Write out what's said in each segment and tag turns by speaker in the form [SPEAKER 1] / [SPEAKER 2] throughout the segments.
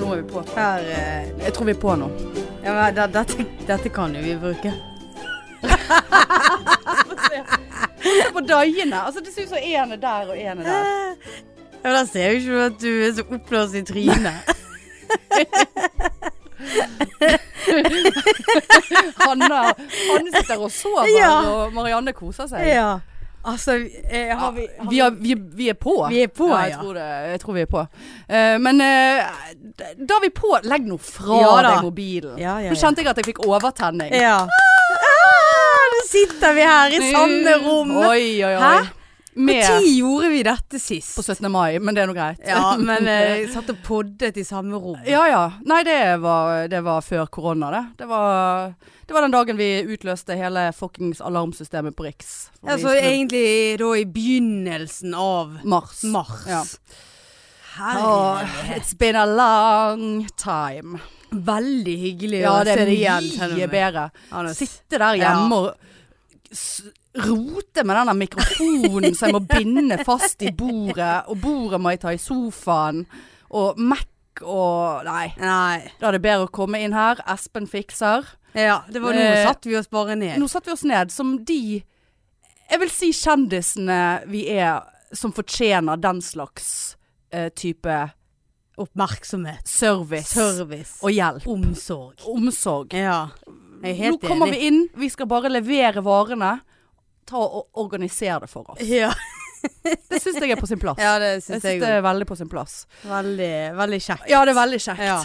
[SPEAKER 1] Her eh, Jeg tror vi er på nå. Ja, men det, dette, dette kan jo vi bruke.
[SPEAKER 2] Se på daiene. Altså, det ser ut som en er der og en er der.
[SPEAKER 1] Ja, men Der ser jo ikke du at du er så oppblåst i trynet.
[SPEAKER 2] Hanna, Hanne sitter og sover,
[SPEAKER 1] Ja.
[SPEAKER 2] og Marianne koser seg.
[SPEAKER 1] ja. Altså, eh, har vi, har
[SPEAKER 2] Ah, vi, er, vi, vi er på.
[SPEAKER 1] Vi er på,
[SPEAKER 2] ja. Jeg
[SPEAKER 1] ja.
[SPEAKER 2] tror, det, jeg tror vi er på. Eh, men eh, da er vi på. Legg nå fra
[SPEAKER 1] Ja da.
[SPEAKER 2] deg mobilen.
[SPEAKER 1] Ja, ja,
[SPEAKER 2] Nå kjente jeg at jeg fikk overtenning.
[SPEAKER 1] Ja. Ah, nå sitter vi her i samme rom.
[SPEAKER 2] Mm. Oi, oi, oi.
[SPEAKER 1] Hæ? Når
[SPEAKER 2] Med
[SPEAKER 1] gjorde vi dette sist?
[SPEAKER 2] på 17. mai, men det er nå greit.
[SPEAKER 1] Ja, men eh, jeg satt og poddet i samme rom.
[SPEAKER 2] ja, ja. Nei, det var, det var før korona, det. Det var, det var den dagen vi utløste hele fuckings alarmsystemet på Riks. For
[SPEAKER 1] Altså
[SPEAKER 2] vi skulle-
[SPEAKER 1] egentlig da i begynnelsen av
[SPEAKER 2] Mars.
[SPEAKER 1] mars.
[SPEAKER 2] Ja.
[SPEAKER 1] Herre.
[SPEAKER 2] Åh, it's been a long time.
[SPEAKER 1] Veldig hyggelig
[SPEAKER 2] Ja,
[SPEAKER 1] å
[SPEAKER 2] det er
[SPEAKER 1] se deg igjen.
[SPEAKER 2] mye bedre.
[SPEAKER 1] Anders.
[SPEAKER 2] Sitte der hjemme og s- rote med den der mikrofonen som jeg må binde fast i bordet, og bordet må jeg ta i sofaen, og Mac og Nei.
[SPEAKER 1] Nei.
[SPEAKER 2] Da er det bedre å komme inn her. Espen fikser.
[SPEAKER 1] Ja, det var nå
[SPEAKER 2] Eh,
[SPEAKER 1] satt vi oss bare ned.
[SPEAKER 2] Nå satte vi oss ned som de Jeg vil si kjendisene vi er som fortjener den slags eh, type
[SPEAKER 1] Oppmerksomhet.
[SPEAKER 2] service
[SPEAKER 1] Service.
[SPEAKER 2] og hjelp.
[SPEAKER 1] omsorg.
[SPEAKER 2] Omsorg.
[SPEAKER 1] Ja. Jeg er
[SPEAKER 2] Nå
[SPEAKER 1] helt
[SPEAKER 2] kommer
[SPEAKER 1] enig.
[SPEAKER 2] vi inn, vi skal bare levere varene. Ta og organisere det for oss.
[SPEAKER 1] Ja,
[SPEAKER 2] Det syns jeg er på sin plass.
[SPEAKER 1] ja det
[SPEAKER 2] jeg
[SPEAKER 1] syns
[SPEAKER 2] syns
[SPEAKER 1] jeg
[SPEAKER 2] det
[SPEAKER 1] òg.
[SPEAKER 2] er veldig på sin plass.
[SPEAKER 1] Veldig, veldig kjekt.
[SPEAKER 2] Ja, det er veldig kjekt.
[SPEAKER 1] Ja.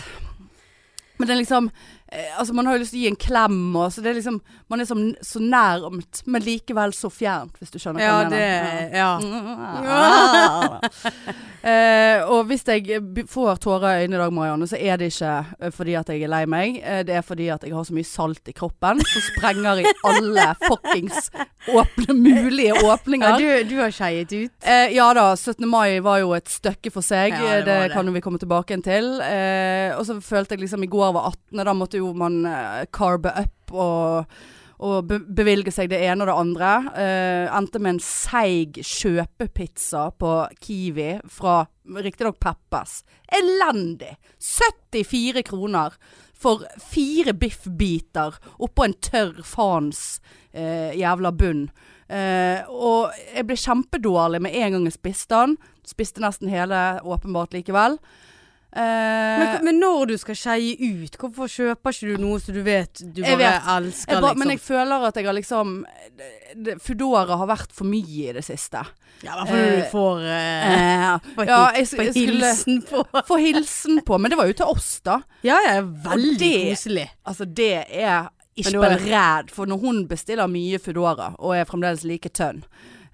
[SPEAKER 2] Men det er liksom eh, Altså, man har jo lyst til å gi en klem, og så det er liksom Man er som, så nærmt, men likevel så fjernt, hvis du skjønner
[SPEAKER 1] Ja,
[SPEAKER 2] hva jeg
[SPEAKER 1] det
[SPEAKER 2] mener.
[SPEAKER 1] Ja.
[SPEAKER 2] Ja. Eh, og hvis jeg b- får tårer i øynene i dag, Marianne, så er det ikke eh, fordi at jeg er lei meg. Eh, Det er fordi at jeg har så mye salt i kroppen som sprenger i alle fuckings åpne, mulige
[SPEAKER 1] ja
[SPEAKER 2] åpninger.
[SPEAKER 1] du, du har skeiet ut.
[SPEAKER 2] Eh, ja da, 17. mai var jo et stykke for seg. Eh,
[SPEAKER 1] Ja, det
[SPEAKER 2] det
[SPEAKER 1] var det.
[SPEAKER 2] kan jo vi komme tilbake igjen til. Eh, og så følte jeg liksom i går var 18., da måtte jo man eh, carbe up og, og be bevilge seg det ene og det andre. Eh, endte med en seig kjøpepizza på Kiwi fra riktignok Peppes. Elendig! 74 kroner for fire biffbiter oppå en tørr faens eh, jævla bunn. Eh, og jeg ble kjempedårlig med en gang jeg spiste den. Spiste nesten hele, åpenbart likevel. Eh,
[SPEAKER 1] Men, men når du skal skeie ut, hvorfor kjøper ikke du noe som du vet du
[SPEAKER 2] Jeg
[SPEAKER 1] bare
[SPEAKER 2] vet.
[SPEAKER 1] elsker?
[SPEAKER 2] jeg ba, men jeg
[SPEAKER 1] liksom?
[SPEAKER 2] føler at jeg har liksom det- det- Foodora har vært for mye i det siste.
[SPEAKER 1] Ja, i hvert fall når
[SPEAKER 2] Eh,
[SPEAKER 1] du får eh,
[SPEAKER 2] Eh,
[SPEAKER 1] på,
[SPEAKER 2] ja, jeg, s-
[SPEAKER 1] på
[SPEAKER 2] jeg skulle
[SPEAKER 1] hilsen på
[SPEAKER 2] få hilsen på, men det var jo til oss, da.
[SPEAKER 1] Ja, ja, veldig
[SPEAKER 2] Og det-
[SPEAKER 1] koselig.
[SPEAKER 2] Altså, det er
[SPEAKER 1] Men da er-
[SPEAKER 2] Ishbel ræd, for når hun bestiller mye Foodora og er fremdeles like tønn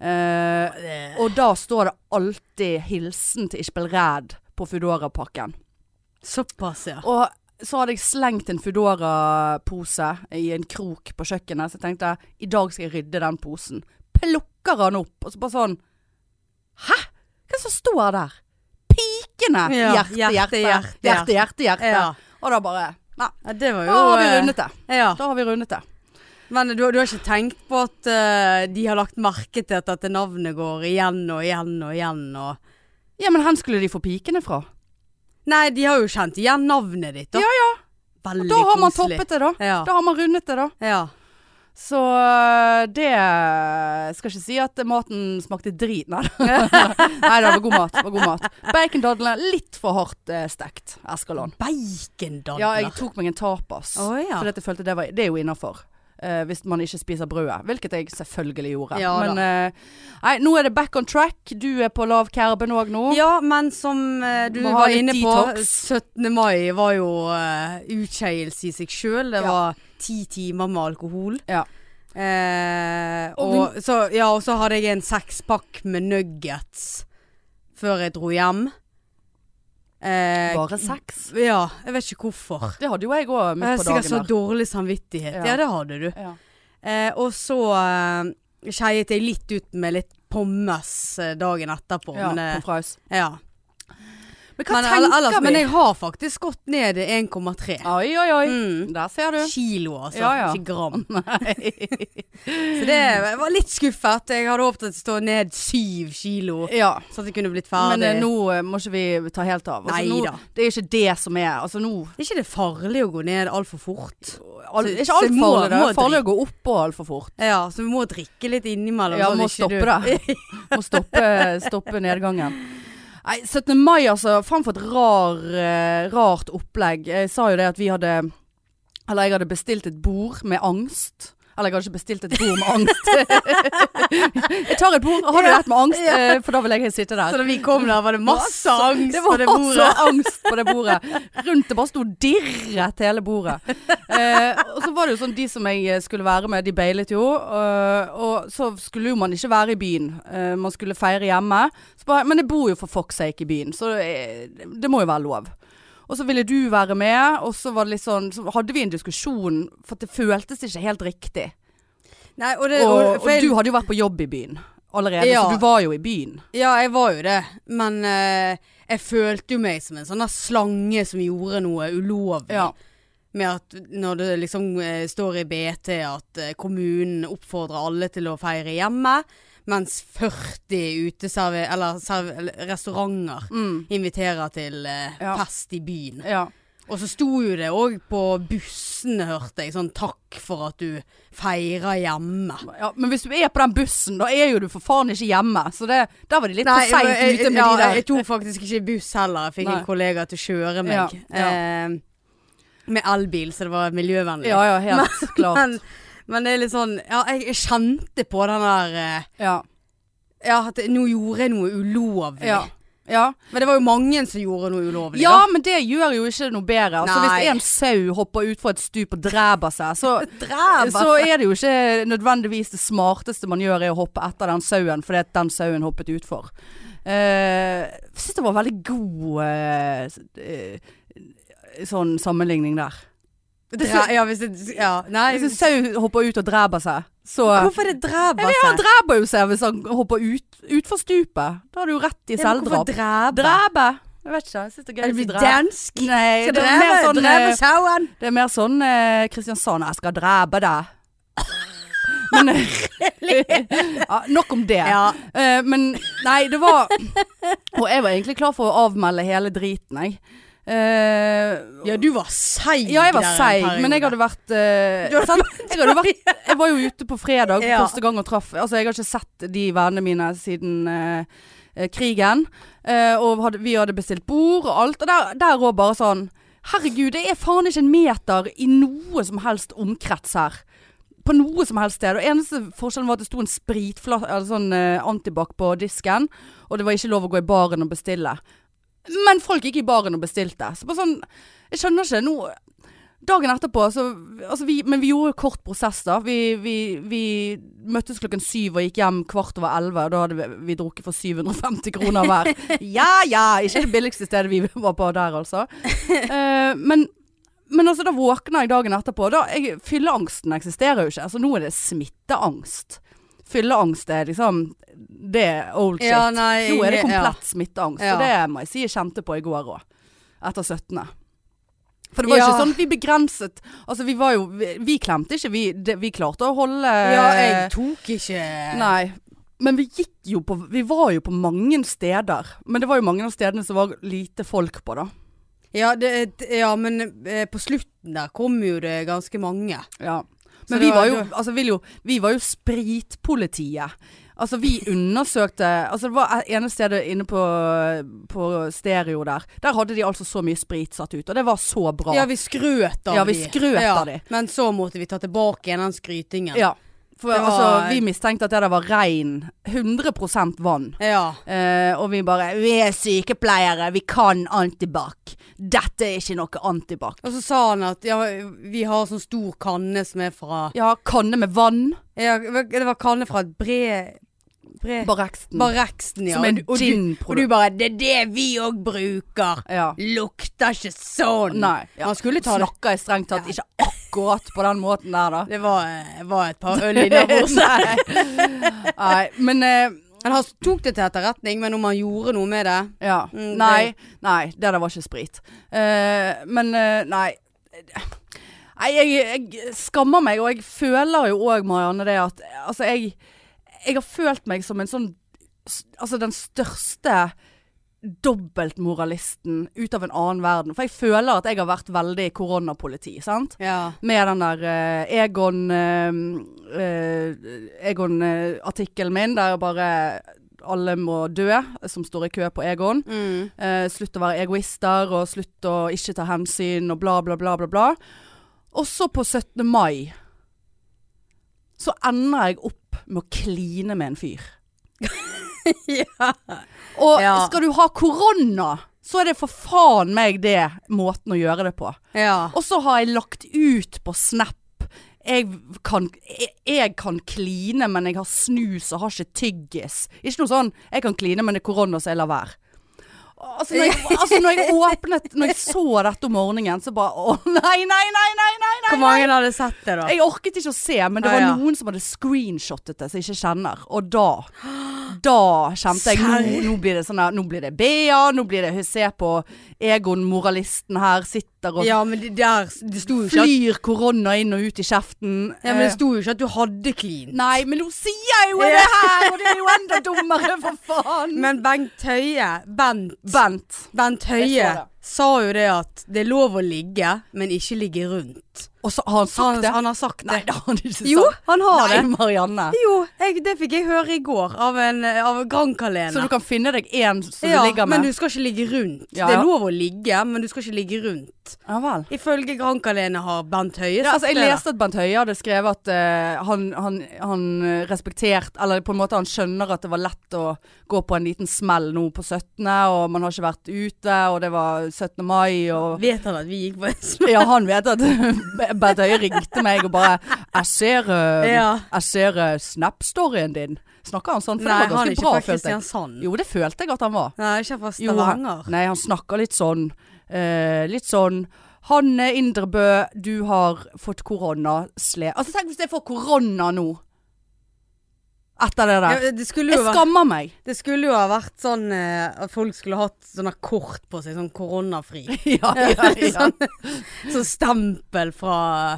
[SPEAKER 2] eh, Og da står det alltid hilsen til Ishbel Ræd på Foodora-pakken.
[SPEAKER 1] Såpass, ja.
[SPEAKER 2] Og så hadde jeg slengt en Foodora-pose i en krok på kjøkkenet, så jeg tenkte i dag skal jeg rydde den posen. Plukker han opp, og så bare sånn Hæ? Hva er det som står der? Pikene!
[SPEAKER 1] Ja,
[SPEAKER 2] hjerte, hjerte, hjerte, hjerte, hjerte, hjerte.
[SPEAKER 1] Ja.
[SPEAKER 2] Og da bare Nei,
[SPEAKER 1] Ja, det var
[SPEAKER 2] da
[SPEAKER 1] jo
[SPEAKER 2] har vi
[SPEAKER 1] eh,
[SPEAKER 2] rundet det.
[SPEAKER 1] Ja.
[SPEAKER 2] Da har vi rundet det.
[SPEAKER 1] Men du, du har ikke tenkt på at eh, de har lagt merke til at dette navnet går igjen og igjen og igjen og
[SPEAKER 2] Ja, men hvor skulle de få pikene fra?
[SPEAKER 1] Nei, de har jo kjent igjen navnet ditt, da.
[SPEAKER 2] Ja,
[SPEAKER 1] ja. Veldig
[SPEAKER 2] Da har man
[SPEAKER 1] koselig.
[SPEAKER 2] toppet det, da.
[SPEAKER 1] Ja.
[SPEAKER 2] Da har man rundet det, da.
[SPEAKER 1] ja.
[SPEAKER 2] Så øh, det jeg Skal ikke si at maten smakte drit. Nei, nei det var god mat. det Var god mat. Bacondadlene litt for hardt eh, stekt. Eskalon.
[SPEAKER 1] Bacondadler.
[SPEAKER 2] Ja, jeg tok meg en tapas.
[SPEAKER 1] Å, ja.
[SPEAKER 2] Fordi at jeg følte det, var, det er jo innafor. hvis man ikke spiser brødet. Hvilket jeg selvfølgelig gjorde.
[SPEAKER 1] Ja da.
[SPEAKER 2] Men eh, nei, nå er det back on track. Du er på lav karben òg nå.
[SPEAKER 1] Ja, men som eh, du
[SPEAKER 2] Må ha
[SPEAKER 1] var
[SPEAKER 2] litt
[SPEAKER 1] inne på,
[SPEAKER 2] detox.
[SPEAKER 1] 17. mai var jo uh, utskeielse i seg sjøl. Det
[SPEAKER 2] Ja.
[SPEAKER 1] var ti timer med alkohol.
[SPEAKER 2] Ja.
[SPEAKER 1] Eh, og,
[SPEAKER 2] Og
[SPEAKER 1] så, ja, og så hadde jeg en sekspakk med nuggets før jeg dro hjem. Eh,
[SPEAKER 2] Bare seks.
[SPEAKER 1] Ja, jeg vet ikke hvorfor.
[SPEAKER 2] Det hadde jo jeg òg
[SPEAKER 1] Jeg
[SPEAKER 2] midt
[SPEAKER 1] har
[SPEAKER 2] på
[SPEAKER 1] sikkert så
[SPEAKER 2] dagen.
[SPEAKER 1] dårlig samvittighet.
[SPEAKER 2] Ja.
[SPEAKER 1] Ja, det hadde du.
[SPEAKER 2] der. Ja.
[SPEAKER 1] Eh, og så eh, skeiet jeg litt ut med litt pommes eh, dagen etterpå.
[SPEAKER 2] Ja,
[SPEAKER 1] men,
[SPEAKER 2] på fries.
[SPEAKER 1] eh, ja.
[SPEAKER 2] Men hva
[SPEAKER 1] men,
[SPEAKER 2] tenker
[SPEAKER 1] ellers,
[SPEAKER 2] vi?
[SPEAKER 1] men jeg har faktisk gått ned 1,3
[SPEAKER 2] Oi, oi, oi.
[SPEAKER 1] Mm.
[SPEAKER 2] Der ser du.
[SPEAKER 1] kilo, altså.
[SPEAKER 2] Ja, ja.
[SPEAKER 1] Ikke gram. Så det jeg var litt skuffet. Jeg hadde håpet at det stod ned syv kilo,
[SPEAKER 2] Ja.
[SPEAKER 1] så at jeg kunne blitt ferdig.
[SPEAKER 2] Men eh, nå eh, må ikke vi ta helt av. Altså,
[SPEAKER 1] Nei
[SPEAKER 2] nå,
[SPEAKER 1] da.
[SPEAKER 2] det er ikke det som er Altså nå
[SPEAKER 1] Er ikke det farlig å gå ned altfor fort?
[SPEAKER 2] al,
[SPEAKER 1] Så-
[SPEAKER 2] Det er ikke
[SPEAKER 1] så
[SPEAKER 2] alt
[SPEAKER 1] må-
[SPEAKER 2] farlig. Det
[SPEAKER 1] må
[SPEAKER 2] er farlig å gå opp og altfor fort.
[SPEAKER 1] Ja, så vi må drikke litt innimellom.
[SPEAKER 2] Ja,
[SPEAKER 1] sånn
[SPEAKER 2] må
[SPEAKER 1] at ikke
[SPEAKER 2] stoppe det. Må stoppe, stoppe nedgangen. Nei, 17. mai, altså. Faen for et rar, eh, rart opplegg. Jeg sa jo det at vi hadde Eller jeg hadde bestilt et bord med angst. Eller jeg hadde ikke bestilt et bord med angst. jeg tar et bord. Har du et med angst? Eh, For da vil jeg sitte
[SPEAKER 1] Så
[SPEAKER 2] der.
[SPEAKER 1] da vi kom der, var det masse angst
[SPEAKER 2] Det
[SPEAKER 1] på
[SPEAKER 2] var
[SPEAKER 1] det
[SPEAKER 2] også
[SPEAKER 1] bordet.
[SPEAKER 2] angst på det bordet. Rundt det bare sto dirret hele bordet. Eh, og så var det jo sånn de som jeg skulle være med, de beilet jo. eh, og så skulle jo man ikke være i byen. Eh, man skulle feire hjemme. Så bare, men jeg bor jo for fuck's sake i byen, så eh, det må jo være lov. Og så ville du være med, og så var det litt sånn Så hadde vi en diskusjon, for det føltes ikke helt riktig.
[SPEAKER 1] Nei, Eh, og, det,
[SPEAKER 2] Og,
[SPEAKER 1] og,
[SPEAKER 2] og
[SPEAKER 1] for jeg,
[SPEAKER 2] du hadde jo vært på jobb i byen allerede,
[SPEAKER 1] Ja.
[SPEAKER 2] så du var jo i byen.
[SPEAKER 1] Ja, jeg var jo det. Men eh, jeg følte jo meg som en sånn der slange som gjorde noe ulovlig.
[SPEAKER 2] Ja.
[SPEAKER 1] Med at når det liksom eh, står i BT at eh, kommunen oppfordrer alle til å feire hjemme, mens 40 uteserve... Eller serv, eller restauranter
[SPEAKER 2] Mm.
[SPEAKER 1] inviterer til eh,
[SPEAKER 2] Ja.
[SPEAKER 1] fest i byen.
[SPEAKER 2] ja.
[SPEAKER 1] Og så sto jo det òg på bussene, hørte jeg, sånn takk for at du feirer hjemme.
[SPEAKER 2] Ja, men hvis du er på den bussen, da er jo du for faen ikke hjemme. Så det, der var de litt for seint
[SPEAKER 1] jeg-
[SPEAKER 2] ute med
[SPEAKER 1] ja,
[SPEAKER 2] de der.
[SPEAKER 1] Jeg tok faktisk ikke buss heller. Jeg fikk
[SPEAKER 2] Nei.
[SPEAKER 1] en kollega til å kjøre meg.
[SPEAKER 2] Ja, ja.
[SPEAKER 1] Eh, med elbil, så det var miljøvennlig.
[SPEAKER 2] Ja, ja, helt klart.
[SPEAKER 1] men, men det er litt sånn Ja, jeg, jeg kjente på den der eh,
[SPEAKER 2] ja.
[SPEAKER 1] Ja, at det- nå gjorde jeg noe ulovlig.
[SPEAKER 2] Ja. Ja.
[SPEAKER 1] Men det var jo mange som gjorde noe ulovlig.
[SPEAKER 2] ja,
[SPEAKER 1] da.
[SPEAKER 2] men det gjør jo ikke noe bedre. Altså,
[SPEAKER 1] Nei.
[SPEAKER 2] hvis en sau hopper utfor et stup og dreper seg, så, så
[SPEAKER 1] Så-
[SPEAKER 2] er det jo ikke nødvendigvis det smarteste man gjør, er å hoppe etter den sauen fordi at den sauen hoppet utfor. Eh, jeg syns det var veldig god eh, s- eh, sånn sammenligning der.
[SPEAKER 1] Dre- Ja, hvis det Ja, nei.
[SPEAKER 2] Hvis en sau hopper ut og dreper seg, så
[SPEAKER 1] Hvorfor er det dreper
[SPEAKER 2] Ja, han
[SPEAKER 1] seg?
[SPEAKER 2] dreper jo seg hvis han hopper ut, utfor stupet. Da er du jo rett i
[SPEAKER 1] Ja, men hvorfor
[SPEAKER 2] selvdrap.
[SPEAKER 1] dreper?
[SPEAKER 2] Drepe? Jeg vet ikke. Jeg syns det er gøy
[SPEAKER 1] Er
[SPEAKER 2] å
[SPEAKER 1] det
[SPEAKER 2] si
[SPEAKER 1] blitt
[SPEAKER 2] drepe.
[SPEAKER 1] dansk?
[SPEAKER 2] Nei,
[SPEAKER 1] Skal
[SPEAKER 2] det er mer
[SPEAKER 1] drepe,
[SPEAKER 2] sånn,
[SPEAKER 1] drepe
[SPEAKER 2] eh,
[SPEAKER 1] sauen?
[SPEAKER 2] det er mer sånn eh, Kristiansand Jeg skal drepe deg. Men eh, ja, Nok om det.
[SPEAKER 1] Ja.
[SPEAKER 2] Eh, men nei, det var Og jeg var egentlig klar for å avmelde hele driten, jeg. Eh,
[SPEAKER 1] ja, du var seig.
[SPEAKER 2] ja, jeg var
[SPEAKER 1] der en
[SPEAKER 2] seig, men jeg
[SPEAKER 1] periode.
[SPEAKER 2] hadde vært eh,
[SPEAKER 1] Du hadde
[SPEAKER 2] sant? Jeg, hadde vært, jeg var jo ute på fredag for
[SPEAKER 1] Ja.
[SPEAKER 2] første gang og traff Altså, jeg har ikke sett de vennene mine siden eh, eh, krigen. Eh, og hadde, vi hadde bestilt bord og alt, og der- der òg bare sånn Herregud, det er faen ikke en meter i noe som helst omkrets her. På noe som helst sted. Og eneste forskjellen var at det sto en spritflaske Eller sånn eh, antibac på disken, og det var ikke lov å gå i baren og bestille. Men folk gikk i baren og bestilte. Så bare sånn Jeg skjønner ikke. Nå Dagen etterpå, så, altså vi, men vi gjorde jo kort prosess da. Vi, vi, vi møttes klokken syv og gikk hjem kvart over elleve. og Da hadde vi, vi drukket for 750 kroner hver. Ja ja! Ikke det billigste stedet vi var på der, altså. Eh, men, men altså, da våkna jeg dagen etterpå. Da, jeg, fylleangsten eksisterer jo ikke. Altså, nå er det smitteangst. Fylleangst er liksom Det er old shit.
[SPEAKER 1] Ja, nei,
[SPEAKER 2] nå er det
[SPEAKER 1] jeg- ja.
[SPEAKER 2] komplett smitteangst.
[SPEAKER 1] Ja.
[SPEAKER 2] Og det må jeg si jeg kjente på i går òg. Etter 17. For det var
[SPEAKER 1] Ja.
[SPEAKER 2] ikke sånn at vi begrenset Altså vi var jo Vi, vi klemte ikke, vi, det, vi klarte å holde
[SPEAKER 1] Ja, jeg tok ikke
[SPEAKER 2] Eh, Nei. Men vi gikk jo på Vi var jo på mange steder. Men det var jo mange av stedene som var lite folk på, da.
[SPEAKER 1] Ja, det, det- ja men eh, på slutten der kom jo det ganske mange.
[SPEAKER 2] Ja.
[SPEAKER 1] Så
[SPEAKER 2] Men
[SPEAKER 1] det
[SPEAKER 2] vi
[SPEAKER 1] var-
[SPEAKER 2] var, jo,
[SPEAKER 1] det
[SPEAKER 2] altså, vil jo, vi var jo spritpolitiet. Altså, vi undersøkte Altså, det var ene stedet inne på, på stereo der. Der hadde de altså så mye sprit satt ut, og det var så bra.
[SPEAKER 1] Ja, vi skrøt av
[SPEAKER 2] Ja, vi
[SPEAKER 1] de.
[SPEAKER 2] skrøt av de.
[SPEAKER 1] Men så måtte vi ta tilbake igjen den skrytingen.
[SPEAKER 2] Ja. For
[SPEAKER 1] Det var-
[SPEAKER 2] altså, vi mistenkte at det der var rein 100 vann.
[SPEAKER 1] Ja.
[SPEAKER 2] Eh, og vi bare Vi er sykepleiere, vi kan antibac. Dette er ikke noe antibac.
[SPEAKER 1] Og så sa han at ja, vi har sånn stor kanne som er fra
[SPEAKER 2] Ja, kanne med vann.
[SPEAKER 1] ja, Det var kanne fra et bre... bre
[SPEAKER 2] Barreksten.
[SPEAKER 1] Barreksten, ja.
[SPEAKER 2] Som en
[SPEAKER 1] Og du- og du- Og
[SPEAKER 2] ginprodukt.
[SPEAKER 1] du bare 'Det er det vi òg bruker'.
[SPEAKER 2] Ja.
[SPEAKER 1] Lukter ikke sånn.
[SPEAKER 2] Nei. Ja.
[SPEAKER 1] Man skulle ta det
[SPEAKER 2] Snakker jeg strengt tatt ikke akkurat på den måten der, da.
[SPEAKER 1] eh, Det var, var et par øl i det bordet.
[SPEAKER 2] Nei. Nei, men eh,
[SPEAKER 1] Men han tok det til etterretning, men om han gjorde noe med det
[SPEAKER 2] Ja.
[SPEAKER 1] Mm, det-
[SPEAKER 2] nei, nei, det der var ikke sprit. Eh, men eh, nei. Nei, jeg, jeg skammer meg, og jeg føler jo òg, Marianne, det at Altså, jeg, jeg har følt meg som en sånn Altså den største dobbeltmoralisten ut av en annen verden. For jeg føler at jeg har vært veldig koronapoliti, sant?
[SPEAKER 1] Ja.
[SPEAKER 2] Med den der eh, Egon eh, eh, Egon-artikkelen min der bare alle må dø som står i kø på Egon.
[SPEAKER 1] Mm.
[SPEAKER 2] Eh, slutt å være egoister og slutt å ikke ta hensyn og bla, bla, bla, bla, bla. Og så på 17. mai så ender jeg opp med å kline med en fyr.
[SPEAKER 1] ja.
[SPEAKER 2] Og
[SPEAKER 1] Ja.
[SPEAKER 2] skal du ha korona, så er det for faen meg det måten å gjøre det på.
[SPEAKER 1] Ja.
[SPEAKER 2] Og så har jeg lagt ut på Snap jeg kan, jeg, jeg kan kline, men jeg har snus og har ikke tyggis. Ikke noe sånn 'jeg kan kline, men det er korona, så jeg lar være'. Altså når, jeg, altså når jeg åpnet Når jeg så dette om morgenen, så bare Å nei, nei, nei, nei, nei! nei.
[SPEAKER 1] Hvor mange hadde sett det, da?
[SPEAKER 2] Jeg orket ikke å se, men det
[SPEAKER 1] Ah,
[SPEAKER 2] var
[SPEAKER 1] ja.
[SPEAKER 2] noen som hadde screenshottet det, som jeg ikke kjenner. Og da Da kjente jeg nå,
[SPEAKER 1] Serr?
[SPEAKER 2] nå blir det sånn her Nå blir det Bea, nå blir det Se på Egon, moralisten her, sitter og
[SPEAKER 1] Ja, men det, der, det sto jo ikke at
[SPEAKER 2] flyr korona inn og ut i kjeften. Eh,
[SPEAKER 1] ja, men det sto jo ikke at du hadde clean.
[SPEAKER 2] Nei, men nå sier jeg jo det her, og det er jo enda dummere, for faen!
[SPEAKER 1] Men Bengt Høie Bent,
[SPEAKER 2] Bent.
[SPEAKER 1] Bent Høie
[SPEAKER 2] Jeg så det.
[SPEAKER 1] sa jo det at det er lov å ligge, men ikke ligge rundt.
[SPEAKER 2] Og så har han
[SPEAKER 1] Han,
[SPEAKER 2] sagt det?
[SPEAKER 1] han har sagt det.
[SPEAKER 2] Nei, det har han ikke sagt.
[SPEAKER 1] jo, han har
[SPEAKER 2] Nei,
[SPEAKER 1] det.
[SPEAKER 2] Marianne.
[SPEAKER 1] Jo, jeg, det fikk jeg høre i går av, en, eh, av Grand-kalender.
[SPEAKER 2] Så du kan finne deg én som
[SPEAKER 1] ja,
[SPEAKER 2] du ligger
[SPEAKER 1] men
[SPEAKER 2] med?
[SPEAKER 1] du skal ikke ligge rundt.
[SPEAKER 2] Ja,
[SPEAKER 1] Det
[SPEAKER 2] ja.
[SPEAKER 1] er lov å ligge, men du skal ikke ligge rundt.
[SPEAKER 2] Ja vel.
[SPEAKER 1] Ifølge Grand-kalender har Bent Høie
[SPEAKER 2] Ja,
[SPEAKER 1] sagt
[SPEAKER 2] altså, jeg
[SPEAKER 1] det. da.
[SPEAKER 2] leste at Bent Høie hadde skrevet at eh, han, han, han eh, respektert, eller på en måte han skjønner at det var lett å gå på en liten smell nå på 17., og man har ikke vært ute, og det var 17. mai, og
[SPEAKER 1] Vet han at vi gikk på en smell?
[SPEAKER 2] Ja, han vet at Bent Høie ringte meg og bare Jeg ser, eh,
[SPEAKER 1] Ja.
[SPEAKER 2] jeg ser eh, Snap-storyen din. Snakker han sånn? For
[SPEAKER 1] Nei,
[SPEAKER 2] det var
[SPEAKER 1] han er
[SPEAKER 2] ganske
[SPEAKER 1] ikke
[SPEAKER 2] bra,
[SPEAKER 1] fra
[SPEAKER 2] følte jeg.
[SPEAKER 1] Kristiansand.
[SPEAKER 2] Jo, det følte jeg at han var.
[SPEAKER 1] Nei, ikke fra
[SPEAKER 2] Jo, han,
[SPEAKER 1] Stavanger.
[SPEAKER 2] nei, han snakker litt sånn. eh, litt sånn Hanne Indrebø, du har fått korona. Sle... Altså, tenk hvis jeg får korona nå. Etter det der.
[SPEAKER 1] Ja, det, skulle jo
[SPEAKER 2] Jeg
[SPEAKER 1] vært,
[SPEAKER 2] skammer meg.
[SPEAKER 1] det skulle jo ha vært sånn eh, at folk skulle hatt sånne kort på seg, sånn koronafri.
[SPEAKER 2] Ja, ja, ja.
[SPEAKER 1] sånn, sånn stempel fra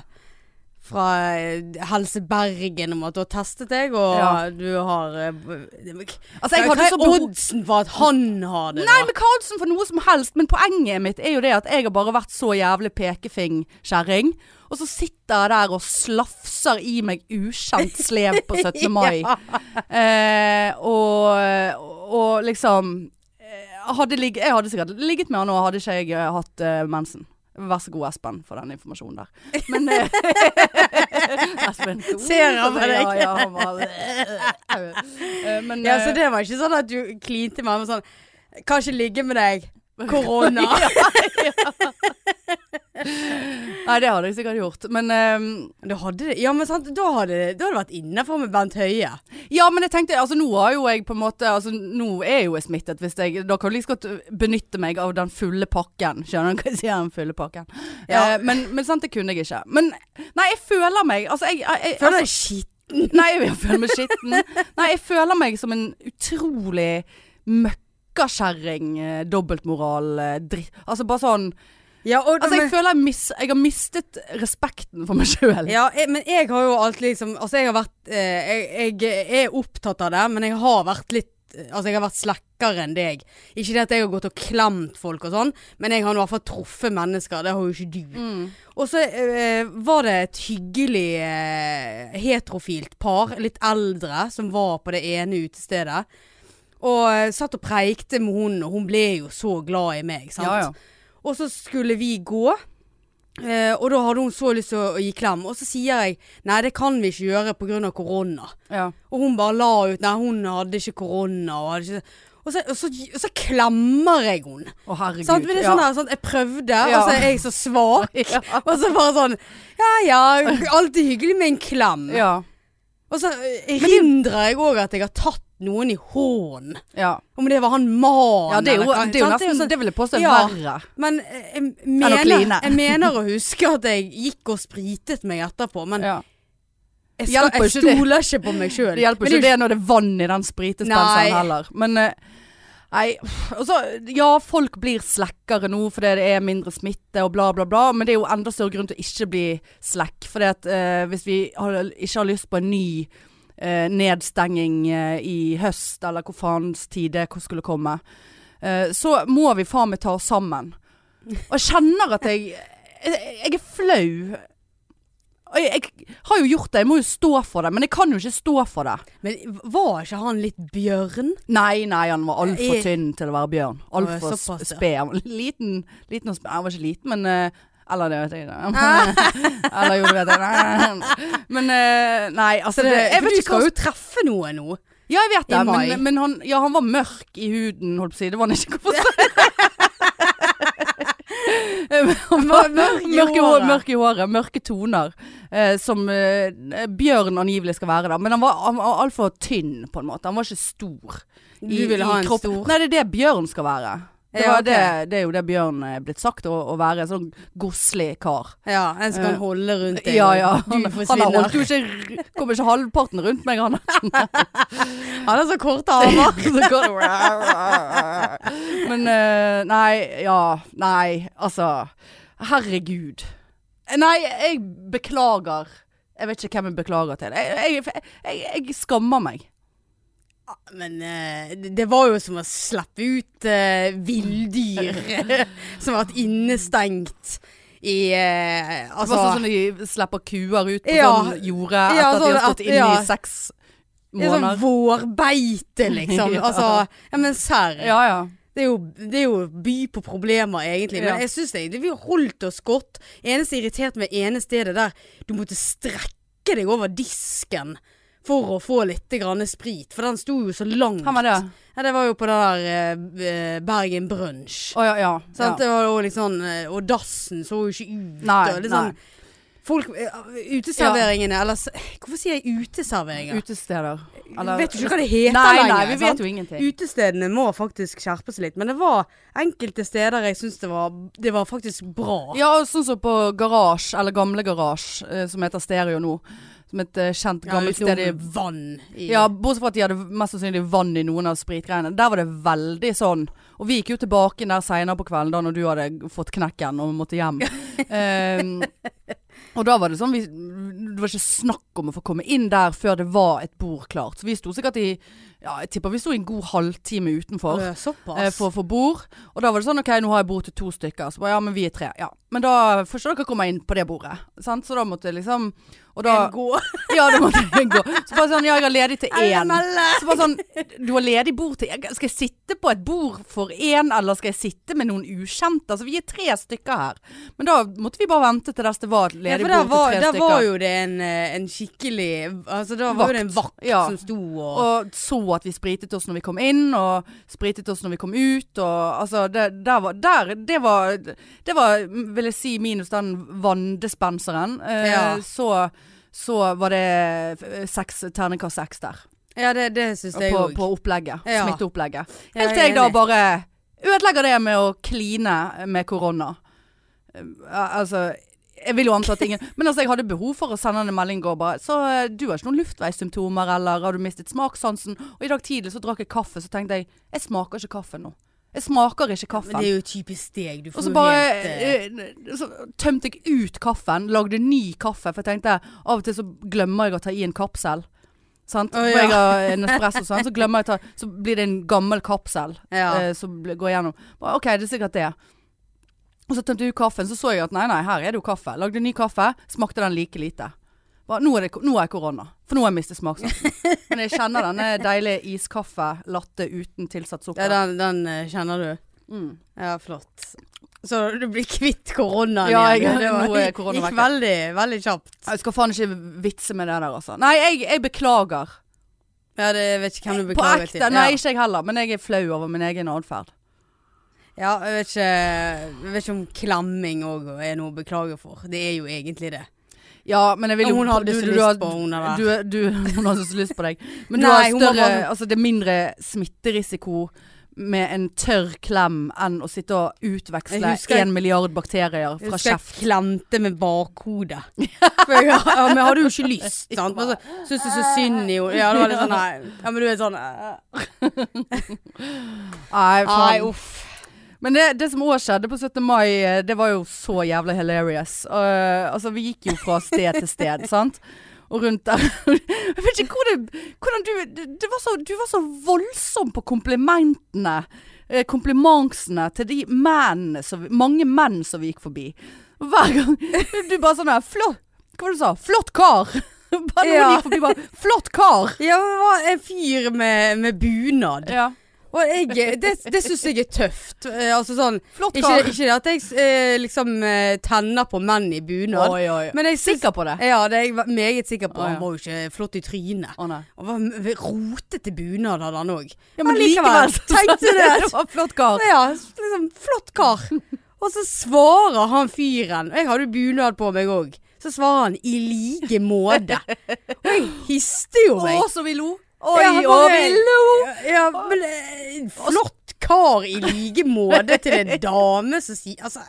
[SPEAKER 1] fra eh, Helse Bergen om at du har testet deg, og
[SPEAKER 2] Ja.
[SPEAKER 1] du har eh, b-
[SPEAKER 2] Altså, jeg
[SPEAKER 1] Hva
[SPEAKER 2] hadde
[SPEAKER 1] er
[SPEAKER 2] så behov
[SPEAKER 1] oddsen for at han har det,
[SPEAKER 2] Nei, men Karlsen for noe som helst. Men poenget mitt er jo det at jeg har bare vært så jævlig pekefingkjerring. Og så sitter jeg der og slafser i meg ukjent slev på 17. mai.
[SPEAKER 1] Ja.
[SPEAKER 2] eh, og, og liksom eh, hadde ligg- Jeg hadde sikkert ligget med han og hadde ikke jeg eh, hatt eh, mensen. Vær så god, Espen, for den informasjonen der. Men eh, Espen
[SPEAKER 1] Ser han på
[SPEAKER 2] Ja,
[SPEAKER 1] deg?
[SPEAKER 2] ja, han bare Eh, Men
[SPEAKER 1] Ja, så
[SPEAKER 2] eh,
[SPEAKER 1] det var ikke sånn at du klinte med ham sånn Kan ikke ligge med deg. Korona.
[SPEAKER 2] Nei, det hadde jeg sikkert gjort. Men eh,
[SPEAKER 1] Da hadde det, ja, men sant, da hadde det, da hadde det vært innenfor med Bent Høie.
[SPEAKER 2] Ja, men jeg tenkte, altså nå har jo jeg på en måte altså, Nå er jo jeg smittet hvis jeg Da kan jeg like så godt benytte meg av den fulle pakken Skjønner du hva jeg sier, den fulle pakken
[SPEAKER 1] Ja.
[SPEAKER 2] eh, men, men sant, det kunne jeg ikke Men, nei, jeg føler meg Altså, jeg, jeg, jeg
[SPEAKER 1] Føler deg skitten.
[SPEAKER 2] altså, Nei, jeg føler meg skitten Nei, jeg føler meg som en utrolig Møkkakjerring eh, Dobbeltmoral eh, dritt Altså bare sånn
[SPEAKER 1] Ja, og,
[SPEAKER 2] Altså, jeg
[SPEAKER 1] men,
[SPEAKER 2] føler jeg, mis, jeg har mistet respekten for meg selv
[SPEAKER 1] ja, jeg, men jeg har jo alltid liksom Altså, jeg har vært eh, jeg, jeg er opptatt av det, men jeg har vært litt eh, Altså, jeg har vært slakkere enn deg. Ikke det at jeg har gått og klemt folk og sånn, men jeg har nå i hvert fall truffet mennesker. Det har jo ikke du.
[SPEAKER 2] mm.
[SPEAKER 1] Og så eh, var det et hyggelig eh, heterofilt par, litt eldre, som var på det ene utestedet. Og eh, satt og preikte med hun, og hun ble jo så glad i meg, sant.
[SPEAKER 2] Ja, ja
[SPEAKER 1] Og så skulle vi gå. Eh, og da hadde hun så lyst til å, å gi klem. Og så sier jeg nei, det kan vi ikke gjøre pga. korona.
[SPEAKER 2] Ja,
[SPEAKER 1] Og hun bare la ut nei, hun hadde ikke korona. Og, hadde ikke... og, så, og, så, og så klemmer jeg henne.
[SPEAKER 2] å herregud
[SPEAKER 1] Sant? Men det er sånn der, sånn, jeg prøvde,
[SPEAKER 2] Ja.
[SPEAKER 1] og så er jeg så svak.
[SPEAKER 2] ja. Ja.
[SPEAKER 1] Og så bare sånn Ja ja, alltid hyggelig med en klem.
[SPEAKER 2] ja,
[SPEAKER 1] Og så erindrer jeg òg at jeg har tatt noen i hånden.
[SPEAKER 2] ja
[SPEAKER 1] Om det var han mannen
[SPEAKER 2] Ja, det er jo,
[SPEAKER 1] eller hva-
[SPEAKER 2] det er jo
[SPEAKER 1] sant?
[SPEAKER 2] nesten,
[SPEAKER 1] sånn-
[SPEAKER 2] det vil jeg påstå er
[SPEAKER 1] Ja.
[SPEAKER 2] verre.
[SPEAKER 1] Men eh, jeg
[SPEAKER 2] å
[SPEAKER 1] mener,
[SPEAKER 2] kline.
[SPEAKER 1] jeg mener å huske at jeg gikk og spritet meg etterpå, men
[SPEAKER 2] Ja.
[SPEAKER 1] Jeg,
[SPEAKER 2] Det
[SPEAKER 1] skal,
[SPEAKER 2] hjelper
[SPEAKER 1] jeg
[SPEAKER 2] jo ikke det.
[SPEAKER 1] stoler ikke på meg sjøl.
[SPEAKER 2] Det hjelper jo ikke det når det er vann i den
[SPEAKER 1] Nei.
[SPEAKER 2] spritdispenseren heller. Men eh, nei altså, Ja, folk blir slekkere nå fordi det er mindre smitte og bla, bla, bla. Men det er jo enda større grunn til å ikke bli slekk. Fordi at eh, hvis vi har, ikke har lyst på en ny eh, nedstenging eh, i høst, eller hvor faens tid det skulle komme, eh, så må vi faen meg ta oss sammen. Og jeg kjenner at jeg Jeg, jeg er flau. Og Jeg, jeg har jo gjort det, jeg må jo stå for det, men jeg kan jo ikke stå for det.
[SPEAKER 1] Men var ikke han litt bjørn?
[SPEAKER 2] Nei, nei, han var altfor
[SPEAKER 1] I-
[SPEAKER 2] tynn til å være bjørn. Altfor
[SPEAKER 1] såpass, ja.
[SPEAKER 2] sped. Han var Liten, liten og sped. Han var ikke liten, men eh, Eller det vet jeg ikke.
[SPEAKER 1] Ah.
[SPEAKER 2] Eller jo, det vet jeg. Nei. Men eh, Nei, altså det, Jeg
[SPEAKER 1] for
[SPEAKER 2] vet
[SPEAKER 1] du
[SPEAKER 2] ikke
[SPEAKER 1] skal
[SPEAKER 2] hva
[SPEAKER 1] jo treffe noen nå.
[SPEAKER 2] Ja, jeg vet
[SPEAKER 1] i
[SPEAKER 2] det,
[SPEAKER 1] mai.
[SPEAKER 2] men, men han, ja, han var mørk i huden, holdt på å si. Det var han ikke. Hvorfor sa jeg Han var
[SPEAKER 1] Mørk i
[SPEAKER 2] mørk i hår-
[SPEAKER 1] håret.
[SPEAKER 2] Mørk i håret, mørke toner. Eh, som eh, bjørn angivelig skal være, da. Men han var, han var altfor tynn, på en måte. Han var ikke stor.
[SPEAKER 1] Du ville ha en
[SPEAKER 2] kroppen.
[SPEAKER 1] stor.
[SPEAKER 2] Nei, det er det bjørn skal være. Det,
[SPEAKER 1] Ja,
[SPEAKER 2] var
[SPEAKER 1] ok.
[SPEAKER 2] det, det er jo det bjørn er blitt sagt, å, å være en sånn godslig kar.
[SPEAKER 1] Ja, en som
[SPEAKER 2] Eh,
[SPEAKER 1] kan holde rundt deg.
[SPEAKER 2] Ja, ja.
[SPEAKER 1] og
[SPEAKER 2] Han,
[SPEAKER 1] Du
[SPEAKER 2] han har holdt jo
[SPEAKER 1] forsvinner.
[SPEAKER 2] ikke r- Kommer ikke halvparten rundt meg, han.
[SPEAKER 1] Han har så korte armer.
[SPEAKER 2] Så går det Men eh, nei, ja, nei, altså Herregud. Nei, jeg beklager. Jeg vet ikke hvem jeg beklager til. Jeg, jeg, jeg, jeg skammer meg.
[SPEAKER 1] Men eh, det- det var jo som å slippe ut uh, villdyr som har vært innestengt i eh,
[SPEAKER 2] Det var
[SPEAKER 1] Altså
[SPEAKER 2] sånn som de slipper kuer ut på
[SPEAKER 1] Ja.
[SPEAKER 2] sånn jorde etter
[SPEAKER 1] Ja,
[SPEAKER 2] at de
[SPEAKER 1] sånn
[SPEAKER 2] har
[SPEAKER 1] at-
[SPEAKER 2] stått inne
[SPEAKER 1] ja.
[SPEAKER 2] i seks
[SPEAKER 1] det er sånn
[SPEAKER 2] måneder.
[SPEAKER 1] vårbeite, liksom.
[SPEAKER 2] Ja.
[SPEAKER 1] Altså, ja, men serr.
[SPEAKER 2] Ja, ja.
[SPEAKER 1] Det, er jo- det er jo by på problemer, egentlig. Men
[SPEAKER 2] Ja.
[SPEAKER 1] jeg syns egentlig vi har holdt oss godt. Eneste irritert med ene stedet der du måtte strekke deg over disken for å få litt grann sprit. For den sto jo så langt.
[SPEAKER 2] Hvem var det?
[SPEAKER 1] Ja, det var jo på det der eh, Bergen Brunch.
[SPEAKER 2] Å ja, ja.
[SPEAKER 1] Sant?
[SPEAKER 2] ja.
[SPEAKER 1] Det var jo litt sånn, eh, og dassen så jo ikke ut.
[SPEAKER 2] Nei,
[SPEAKER 1] og litt sånn, Folk, eh, uteserveringene, eller s- Hvorfor sier jeg uteserveringer?
[SPEAKER 2] Utesteder.
[SPEAKER 1] vet jo ikke hva det heter
[SPEAKER 2] Nei,
[SPEAKER 1] lenger.
[SPEAKER 2] nei, vi
[SPEAKER 1] sant?
[SPEAKER 2] vet jo ingenting.
[SPEAKER 1] Utestedene må faktisk skjerpe seg litt, men det var enkelte steder jeg syns det, var- det var faktisk bra.
[SPEAKER 2] Ja, og sånn som på Garasje, eller Gamle Garasje, eh, som heter Stereo nå. Som et eh, kjent
[SPEAKER 1] Ja,
[SPEAKER 2] gammelt
[SPEAKER 1] utenom
[SPEAKER 2] sted i
[SPEAKER 1] vann. I,
[SPEAKER 2] ja, Bortsett fra at de hadde mest sannsynlig vann i noen av spritgreiene. Der var det veldig sånn. Og vi gikk jo tilbake inn der seinere på kvelden da når du hadde fått knekken og måtte hjem. Ehm, og da var det sånn vi, Det var ikke snakk om å få komme inn der før det var et bord klart. Så vi sto sikkert i Ja, jeg tipper vi sto i en god halvtime utenfor.
[SPEAKER 1] Å,
[SPEAKER 2] eh,
[SPEAKER 1] Såpass.
[SPEAKER 2] For å få bord. Og da var det sånn OK, nå har jeg bord til to stykker. Så bare ja, men vi er tre. Ja. Men da får ikke dere komme inn på det bordet. Sant? Så da måtte jeg liksom Og da
[SPEAKER 1] En gå-
[SPEAKER 2] Ja, da måtte jeg gå. Så bare sånn ja, jeg har ledig til
[SPEAKER 1] Eller
[SPEAKER 2] én.
[SPEAKER 1] melde.
[SPEAKER 2] Så bare sånn Du har ledig bord til Skal jeg sitte på et bord for én, eller skal jeg sitte med noen ukjente? Altså vi er tre stykker her. Men da måtte vi bare vente til dess det var et
[SPEAKER 1] Ja, for
[SPEAKER 2] ledig
[SPEAKER 1] der
[SPEAKER 2] bord til
[SPEAKER 1] var,
[SPEAKER 2] tre
[SPEAKER 1] der
[SPEAKER 2] stykker.
[SPEAKER 1] var jo det en, eh, en skikkelig Altså, da var jo det en vakt
[SPEAKER 2] Ja.
[SPEAKER 1] som sto og
[SPEAKER 2] Og så at vi spritet oss når vi kom inn, og spritet oss når vi kom ut. Og altså, det, der var, der, det var Det var, vil jeg si, minus den vanndispenseren. Eh,
[SPEAKER 1] Ja.
[SPEAKER 2] så, så var det eh, seks, terningkast seks der.
[SPEAKER 1] Ja, det, det syns jeg
[SPEAKER 2] På,
[SPEAKER 1] òg.
[SPEAKER 2] på opplegget.
[SPEAKER 1] Ja.
[SPEAKER 2] Smitteopplegget.
[SPEAKER 1] Ja, jeg
[SPEAKER 2] Helt
[SPEAKER 1] er
[SPEAKER 2] til jeg da
[SPEAKER 1] enig.
[SPEAKER 2] bare ødelegger det med å kline med korona. Eh, Altså jeg vil jo anta at ingen Men altså, jeg hadde behov for å sende han en melding og bare Så eh, du har ikke noen luftveissymptomer, eller har du mistet smakssansen? Og i dag tidlig så drakk jeg kaffe, så tenkte jeg Jeg smaker ikke kaffe nå. Jeg smaker ikke
[SPEAKER 1] Men
[SPEAKER 2] kaffen.
[SPEAKER 1] det er jo typisk deg. Du
[SPEAKER 2] Og
[SPEAKER 1] får
[SPEAKER 2] så
[SPEAKER 1] jo
[SPEAKER 2] bare
[SPEAKER 1] helt eh,
[SPEAKER 2] eh, så tømte jeg ut kaffen, lagde ny kaffe, for jeg tenkte av og til så glemmer jeg å ta i en kapsel. Sant?
[SPEAKER 1] Å,
[SPEAKER 2] For jeg
[SPEAKER 1] ja.
[SPEAKER 2] har en espresso, sant? så glemmer jeg å ta Så blir det en gammel kapsel
[SPEAKER 1] Ja.
[SPEAKER 2] eh, som bl- går gjennom. Bare, OK, det er sikkert det. Og så tømte jeg ut kaffen, så så jeg at nei, nei, her er det jo kaffe. Lagde ny kaffe, smakte den like lite. Bare, nå, er det, ko- nå er jeg korona, for nå har jeg mistet smaksansen. Men jeg kjenner denne deilige iskaffe latte uten tilsatt
[SPEAKER 1] Ja,
[SPEAKER 2] sukker.
[SPEAKER 1] den, den eh, kjenner du.
[SPEAKER 2] Mm.
[SPEAKER 1] Ja, flott. Så du blir kvitt koronaen
[SPEAKER 2] Ja,
[SPEAKER 1] igjen.
[SPEAKER 2] jeg-
[SPEAKER 1] Det var-
[SPEAKER 2] nå er korona
[SPEAKER 1] gikk
[SPEAKER 2] vekk.
[SPEAKER 1] veldig, veldig kjapt.
[SPEAKER 2] Jeg skal faen ikke vitse med det der, altså. Nei, jeg, jeg beklager.
[SPEAKER 1] Ja, det jeg vet ikke hvem du
[SPEAKER 2] På
[SPEAKER 1] beklager til.
[SPEAKER 2] ekte. Nei, ikke jeg heller. Men jeg er flau over min egen atferd.
[SPEAKER 1] Ja. ja, jeg vet ikke, jeg vet ikke om klemming òg er noe å beklage for. Det er jo egentlig det.
[SPEAKER 2] Ja, men jeg vil
[SPEAKER 1] Ja,
[SPEAKER 2] jo
[SPEAKER 1] hun hadde så
[SPEAKER 2] du- du-
[SPEAKER 1] lyst
[SPEAKER 2] du har-
[SPEAKER 1] på hun der.
[SPEAKER 2] Du, du, hun hadde så lyst på deg. Men
[SPEAKER 1] Nei,
[SPEAKER 2] du
[SPEAKER 1] hun
[SPEAKER 2] har
[SPEAKER 1] var
[SPEAKER 2] større
[SPEAKER 1] bare-
[SPEAKER 2] Altså det er mindre smitterisiko med en tørr klem enn å sitte og utveksle
[SPEAKER 1] Jeg husker-
[SPEAKER 2] én milliard bakterier
[SPEAKER 1] Jeg
[SPEAKER 2] fra
[SPEAKER 1] husker jeg
[SPEAKER 2] kjeft.
[SPEAKER 1] klemte med bakhodet. For jeg, ja, men jeg hadde jo ikke lyst, sant. Altså, Men så syntes jeg så synd i henne. Ja, det var litt sånn nei. Ja, men du er sånn eh,
[SPEAKER 2] Nei,
[SPEAKER 1] Nei,
[SPEAKER 2] faen.
[SPEAKER 1] uff.
[SPEAKER 2] Men det, det som òg skjedde på 17. mai, eh, det var jo så jævla hilarious. Eh, altså, vi gikk jo fra sted til sted, sant. Og rundt der Jeg vet ikke hvor det, hvordan du det, det var så, Du var så voldsom på komplimentene. eh, Komplimansene til de mennene som Mange menn som vi gikk forbi. Hver gang Du bare sånn her Flott Hva var det du sa? Flott kar! Bare noen
[SPEAKER 1] Ja.
[SPEAKER 2] gikk forbi bare Flott kar!
[SPEAKER 1] Ja, men det var en fyr med, med bunad.
[SPEAKER 2] Ja.
[SPEAKER 1] Og jeg, det, det syns jeg er tøft. Eh, altså sånn
[SPEAKER 2] Flott
[SPEAKER 1] Ikke,
[SPEAKER 2] kar.
[SPEAKER 1] ikke det at jeg eh, liksom eh, tenner på menn i bunad.
[SPEAKER 2] Oi, oi.
[SPEAKER 1] Men jeg syns
[SPEAKER 2] Sikker på det?
[SPEAKER 1] Ja, det er jeg ve- meget sikker på.
[SPEAKER 2] Å, ja.
[SPEAKER 1] Han var jo ikke flott i trynet.
[SPEAKER 2] Å nei.
[SPEAKER 1] Han var m- rotete bunad hadde han òg.
[SPEAKER 2] Ja, men likevel.
[SPEAKER 1] Tenkte det.
[SPEAKER 2] det var flott kar.
[SPEAKER 1] Ja, liksom flott kar. Og så svarer han fyren. Jeg hadde jo bunad på meg òg. Så svarer han i like måte. Og jeg histe jo meg.
[SPEAKER 2] så vi lo.
[SPEAKER 1] Oi, og vi
[SPEAKER 2] lo.
[SPEAKER 1] Ja, men eh, flott kar i like måte til en dame som sier Altså,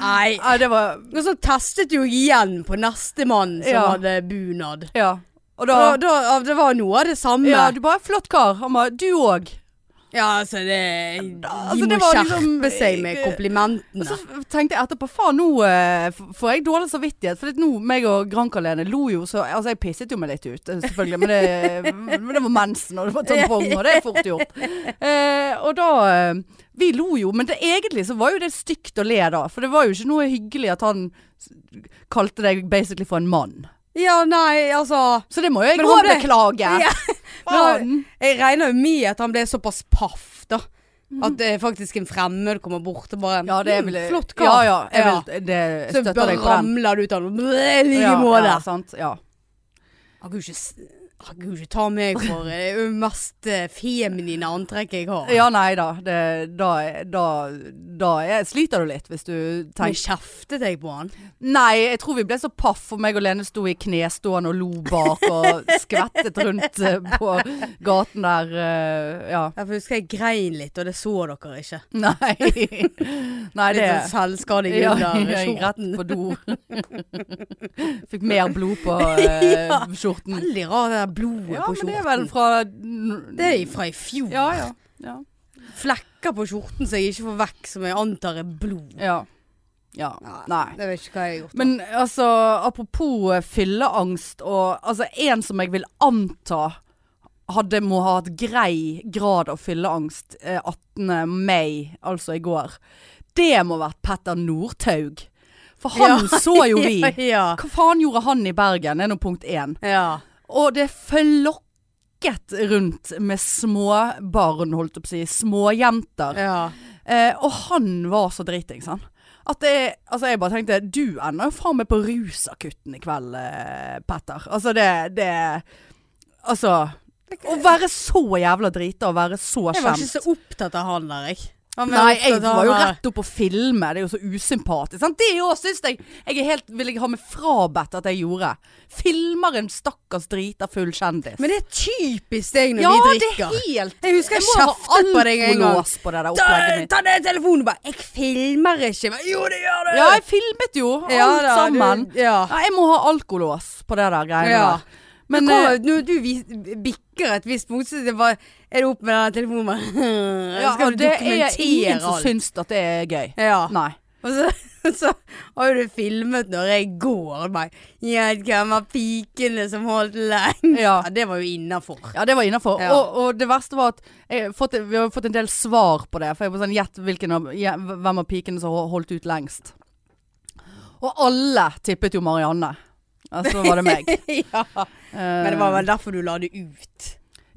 [SPEAKER 1] nei.
[SPEAKER 2] Ja, det var
[SPEAKER 1] Og så testet jo igjen på neste mann som
[SPEAKER 2] Ja.
[SPEAKER 1] hadde bunad.
[SPEAKER 2] Ja. Og da
[SPEAKER 1] Da, da, ja, det var noe av det samme. Ja,
[SPEAKER 2] Ja, du bare Flott kar. Han bare Du òg.
[SPEAKER 1] altså det De
[SPEAKER 2] altså, det
[SPEAKER 1] må
[SPEAKER 2] var
[SPEAKER 1] skjerpe
[SPEAKER 2] liksom- altså,
[SPEAKER 1] seg med
[SPEAKER 2] Og så
[SPEAKER 1] komplimentene.
[SPEAKER 2] tenkte jeg etterpå Faen, nå eh, f- får jeg dårlig samvittighet. For at nå, meg og Granca-Lene lo jo så Altså, jeg pisset jo meg litt ut, eh, selvfølgelig. Men det, men det var mensen, og det var tampong, og det er fort gjort. Eh, og da eh, Vi lo jo, men det, egentlig så var jo det stygt å le da. For det var jo ikke noe hyggelig at han s- kalte deg basically for en mann.
[SPEAKER 1] Ja, nei, altså
[SPEAKER 2] Så det må jo jeg
[SPEAKER 1] Men
[SPEAKER 2] òg
[SPEAKER 1] han ble-
[SPEAKER 2] beklage.
[SPEAKER 1] Ja.
[SPEAKER 2] Faen.
[SPEAKER 1] Jeg regner jo med at han ble såpass paff, da. At eh, faktisk en fremmed kommer bort og bare
[SPEAKER 2] Mhm. Ja, det
[SPEAKER 1] «Mm,
[SPEAKER 2] vil jeg.
[SPEAKER 1] Flott kar.
[SPEAKER 2] Ja, ja, jeg vil, det jeg
[SPEAKER 1] Så
[SPEAKER 2] støtter
[SPEAKER 1] bare
[SPEAKER 2] deg på den.
[SPEAKER 1] ramler det ut av ham. I like
[SPEAKER 2] Ja,
[SPEAKER 1] måte.
[SPEAKER 2] ja, sant. Ja.
[SPEAKER 1] Han kan jo ikke s- han kan jo ikke ta meg for eh, det er jo det mest eh, feminine antrekket jeg har.
[SPEAKER 2] ja, nei da. Det, da da, da er, sliter du litt hvis du
[SPEAKER 1] Men
[SPEAKER 2] tenker
[SPEAKER 1] kjeftet jeg på han?
[SPEAKER 2] Nei, jeg tror vi ble så paff, for meg og Lene sto i knestående og lo bak og skvettet rundt eh, på gaten der. eh, Ja.
[SPEAKER 1] Jeg husker jeg grein litt, og det så dere ikke.
[SPEAKER 2] Nei. Nei, det
[SPEAKER 1] Litt sånn selvskading
[SPEAKER 2] Ja,
[SPEAKER 1] under
[SPEAKER 2] jeg gikk rett
[SPEAKER 1] skjorten.
[SPEAKER 2] på do. Fikk mer blod på eh,
[SPEAKER 1] Ja.
[SPEAKER 2] skjorten.
[SPEAKER 1] Veldig rar det der blodet
[SPEAKER 2] Ja,
[SPEAKER 1] på
[SPEAKER 2] men
[SPEAKER 1] skjorten.
[SPEAKER 2] det er vel fra
[SPEAKER 1] Det er fra i fjor.
[SPEAKER 2] Ja, ja. ja.
[SPEAKER 1] Flekker på skjorten som jeg ikke får vekk, som jeg antar er blod.
[SPEAKER 2] Ja. ja. Nei.
[SPEAKER 1] Jeg vet ikke hva jeg har gjort.
[SPEAKER 2] Men altså, apropos eh, fylleangst og altså, en som jeg vil anta hadde må ha hatt grei grad av fylleangst eh, 18. mai, altså i går. Det må ha vært Petter Northaug. For han så jo vi.
[SPEAKER 1] ja.
[SPEAKER 2] Hva faen gjorde han i Bergen? Det er nå punkt én.
[SPEAKER 1] ja.
[SPEAKER 2] Og det flokket rundt med småbarn, holdt jeg på å si. Småjenter.
[SPEAKER 1] ja.
[SPEAKER 2] Eh, og han var så dritings, han. At det, altså jeg bare tenkte Du ender jo faen meg på rusakutten i kveld, eh, Petter. Altså det, det Altså Å være så jævla drita og være så
[SPEAKER 1] Jeg var
[SPEAKER 2] skjemt.
[SPEAKER 1] ikke så opptatt av han der, jeg. Han
[SPEAKER 2] Nei, jeg
[SPEAKER 1] opptatt av
[SPEAKER 2] var jo
[SPEAKER 1] han der.
[SPEAKER 2] rett opp å filme. Det er jo så usympatisk. Sant? Det òg syns jeg Jeg er helt, vil jeg ha meg frabedt at jeg gjorde. Filmer en stakkars drita full kjendis.
[SPEAKER 1] Men det er typisk deg når
[SPEAKER 2] ja,
[SPEAKER 1] vi
[SPEAKER 2] det
[SPEAKER 1] drikker.
[SPEAKER 2] er helt
[SPEAKER 1] Jeg husker jeg
[SPEAKER 2] må ha
[SPEAKER 1] kjeftet på deg en gang.
[SPEAKER 2] alkolås på det der
[SPEAKER 1] Ta,
[SPEAKER 2] opplegget mitt.
[SPEAKER 1] ta ned telefonen og bare 'Jeg filmer ikke'. Men Jo, det gjør du!
[SPEAKER 2] Ja, jeg filmet jo alt
[SPEAKER 1] da, du-
[SPEAKER 2] sammen.
[SPEAKER 1] ja.
[SPEAKER 2] Ja, jeg må ha alkolås på det der greiene
[SPEAKER 1] Ja.
[SPEAKER 2] der. Men
[SPEAKER 1] Kommer,
[SPEAKER 2] eh,
[SPEAKER 1] når du vis, bikker et visst punkt, så det bare, er det opp med den telefonen bare
[SPEAKER 2] ja,
[SPEAKER 1] Skal du
[SPEAKER 2] det er
[SPEAKER 1] dokumentere
[SPEAKER 2] ingen som
[SPEAKER 1] alt?
[SPEAKER 2] syns at det er gøy.
[SPEAKER 1] Ja.
[SPEAKER 2] Nei.
[SPEAKER 1] Og så, så har jo du filmet når jeg går. og Bare, ja, hvem var pikene som holdt lenge?
[SPEAKER 2] Ja.
[SPEAKER 1] det var jo innafor.
[SPEAKER 2] Ja, det var innafor.
[SPEAKER 1] Ja.
[SPEAKER 2] Og, og det verste var at jeg har fått, vi har fått en del svar på det. For jeg var sånn Gjett hvilken av, ja, hvem av pikene som ho- holdt ut lengst. Og alle tippet jo Marianne. Ja, Så var det meg. Eh,
[SPEAKER 1] ja. Men det var vel derfor du la det ut.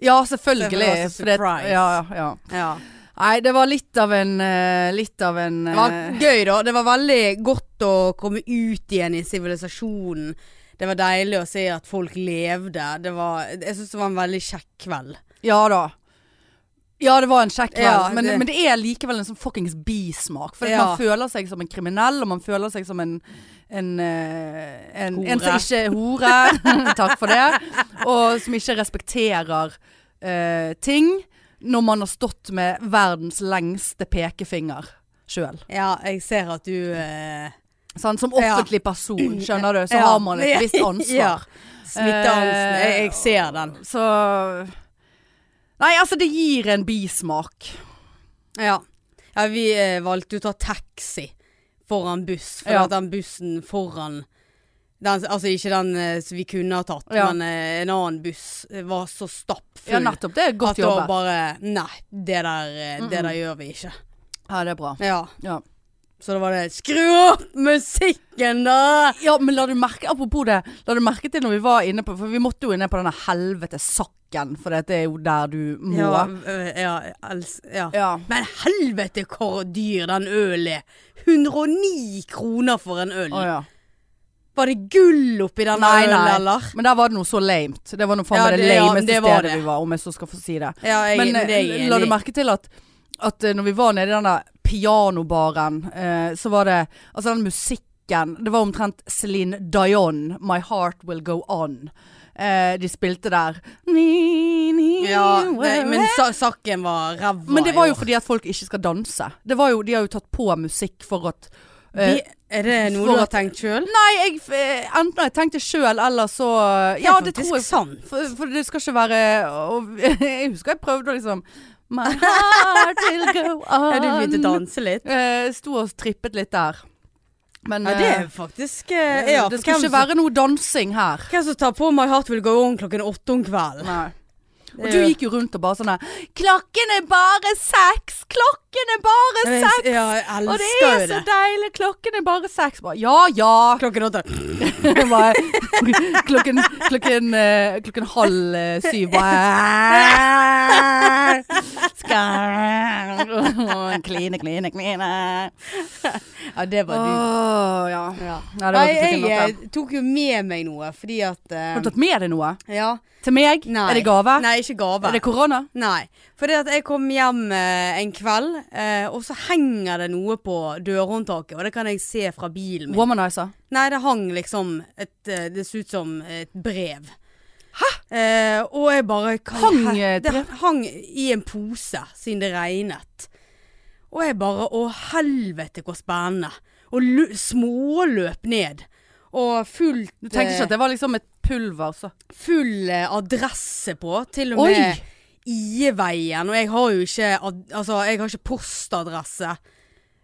[SPEAKER 2] Ja,
[SPEAKER 1] Det var
[SPEAKER 2] selvfølgelig.
[SPEAKER 1] så
[SPEAKER 2] fordi at-
[SPEAKER 1] surprise.
[SPEAKER 2] ja, ja.
[SPEAKER 1] Ja.
[SPEAKER 2] Nei, det var litt av en eh, Litt av en
[SPEAKER 1] Det var
[SPEAKER 2] eh,
[SPEAKER 1] gøy, da. Det var veldig godt å komme ut igjen i sivilisasjonen. Det var deilig å se at folk levde. Det var, jeg syns det var en veldig kjekk kveld.
[SPEAKER 2] Ja da. Ja, det var en kjekk kveld,
[SPEAKER 1] Ja,
[SPEAKER 2] men,
[SPEAKER 1] det-
[SPEAKER 2] men det er likevel en sånn fuckings bismak. For at
[SPEAKER 1] Ja.
[SPEAKER 2] man føler seg som en kriminell, og man føler seg som en en, eh, en, en som
[SPEAKER 1] Hore.
[SPEAKER 2] ikke er hore, takk for det, og som ikke respekterer eh, ting. når man har stått med verdens lengste pekefinger sjøl.
[SPEAKER 1] Ja, jeg ser at du eh,
[SPEAKER 2] Sant? Som offentlig person, skjønner du, så
[SPEAKER 1] Ja.
[SPEAKER 2] har man et visst ansvar.
[SPEAKER 1] Ja. Smitteangsten. Jeg, jeg ser den.
[SPEAKER 2] Så Nei, altså, det gir en bismak.
[SPEAKER 1] Ja. ja vi eh, valgte ut å ta taxi foran buss, for
[SPEAKER 2] Ja.
[SPEAKER 1] at den bussen foran den, altså ikke den eh, som vi kunne ha tatt,
[SPEAKER 2] Ja.
[SPEAKER 1] men eh, en annen buss eh, var så stappfull
[SPEAKER 2] Ja, nettopp. Det er
[SPEAKER 1] at
[SPEAKER 2] godt
[SPEAKER 1] da
[SPEAKER 2] jobba.
[SPEAKER 1] bare Nei, det der, eh, det der gjør vi ikke.
[SPEAKER 2] Ja, det er bra.
[SPEAKER 1] Ja.
[SPEAKER 2] Ja.
[SPEAKER 1] Så da var det Skru opp musikken, da!
[SPEAKER 2] Ja, men la du merke, apropos det, la du merke til når vi var inne på For vi måtte jo inne på denne helvete sakken, for dette er jo der du må.
[SPEAKER 1] Ja, øh, ja, els, ja.
[SPEAKER 2] Ja.
[SPEAKER 1] Men helvete hvor dyr den øl er! 109 kroner for en øl.
[SPEAKER 2] Å, ja.
[SPEAKER 1] Var det gull oppi den
[SPEAKER 2] Nei,
[SPEAKER 1] ølen,
[SPEAKER 2] nei.
[SPEAKER 1] eller?
[SPEAKER 2] Men der var det noe så lamet. Det var noe faen
[SPEAKER 1] Ja,
[SPEAKER 2] meg det,
[SPEAKER 1] det- ja,
[SPEAKER 2] lameste
[SPEAKER 1] det var
[SPEAKER 2] stedet
[SPEAKER 1] det.
[SPEAKER 2] vi var, om jeg så skal få si det.
[SPEAKER 1] Ja, jeg,
[SPEAKER 2] Men
[SPEAKER 1] det er
[SPEAKER 2] eh,
[SPEAKER 1] jeg
[SPEAKER 2] la du
[SPEAKER 1] enig i.
[SPEAKER 2] merke til at, at eh, når vi var nede i den der pianobaren, eh, så var det Altså den musikken Det var omtrent Celine Dion, 'My Heart Will Go On'. Eh, de spilte der ni, ni,
[SPEAKER 1] Ja, nei,
[SPEAKER 2] where-
[SPEAKER 1] men sa saken var ræva.
[SPEAKER 2] Men det var
[SPEAKER 1] i
[SPEAKER 2] jo
[SPEAKER 1] år.
[SPEAKER 2] fordi at folk ikke skal danse. Det var jo, de har jo tatt på musikk for at eh,
[SPEAKER 1] Vi- Er det noe
[SPEAKER 2] for
[SPEAKER 1] du har
[SPEAKER 2] at-
[SPEAKER 1] tenkt sjøl?
[SPEAKER 2] Nei, jeg, eh, enten har jeg tenkt det sjøl, eller så eh, Ja, det tror jeg.
[SPEAKER 1] sant.
[SPEAKER 2] For, for det skal ikke være og, Jeg husker jeg prøvde å liksom My heart will go on.
[SPEAKER 1] Ja, du begynte å danse litt?
[SPEAKER 2] Eh, sto og trippet litt der. Men
[SPEAKER 1] Ja, det er
[SPEAKER 2] eh,
[SPEAKER 1] faktisk eh, ja,
[SPEAKER 2] det
[SPEAKER 1] for
[SPEAKER 2] skal ikke
[SPEAKER 1] hvem som-
[SPEAKER 2] være noe dansing her.
[SPEAKER 1] Hvem som tar på My Heart Will Go On klokken åtte om kvelden?
[SPEAKER 2] Nei. Og
[SPEAKER 1] Det
[SPEAKER 2] du
[SPEAKER 1] er jo-
[SPEAKER 2] gikk jo rundt og bare sånn der, Klokken er bare seks! Klokken er bare
[SPEAKER 1] Jeg-
[SPEAKER 2] seks!
[SPEAKER 1] Ja, jeg
[SPEAKER 2] Og det
[SPEAKER 1] elsker
[SPEAKER 2] er
[SPEAKER 1] jo
[SPEAKER 2] så
[SPEAKER 1] det.
[SPEAKER 2] deilig! Klokken er bare seks. Bare, Ja ja!
[SPEAKER 1] Klokken åtte.
[SPEAKER 2] Jeg bare- klokken, klokken, eh, klokken halv eh, syv bare Skal Kline, kline, kline.
[SPEAKER 1] Ja, det
[SPEAKER 2] Å
[SPEAKER 1] var du.
[SPEAKER 2] ja.
[SPEAKER 1] Ja.
[SPEAKER 2] Nei, det var
[SPEAKER 1] Nei,
[SPEAKER 2] klokken
[SPEAKER 1] jeg
[SPEAKER 2] åtte.
[SPEAKER 1] eh, tok jo med meg noe, fordi at eh,
[SPEAKER 2] Har du tatt med deg noe?
[SPEAKER 1] Ja.
[SPEAKER 2] Til meg?
[SPEAKER 1] Nei.
[SPEAKER 2] Er det gave?
[SPEAKER 1] Nei, ikke gave.
[SPEAKER 2] Er det korona?
[SPEAKER 1] Nei. Fordi at jeg kom hjem eh, en kveld, eh, og så henger det noe på dørhåndtaket. Og det kan jeg se fra bilen min.
[SPEAKER 2] Womanizer.
[SPEAKER 1] Nei, det hang liksom et, eh, Det så ut som et brev. Hæ? Eh, og jeg bare hva i
[SPEAKER 2] Hang,
[SPEAKER 1] hel-
[SPEAKER 2] eh,
[SPEAKER 1] Det hang i en pose, siden det regnet. Og jeg bare Å, helvete hvor spennende. Og lu- småløp ned. Og fullt
[SPEAKER 2] Du tenkte ikke
[SPEAKER 1] eh,
[SPEAKER 2] at det var liksom et pulver, så.
[SPEAKER 1] full eh, adresse på, til og
[SPEAKER 2] Oi!
[SPEAKER 1] med Ieveien. Og jeg har jo ikke ad, Altså, jeg har ikke postadresse.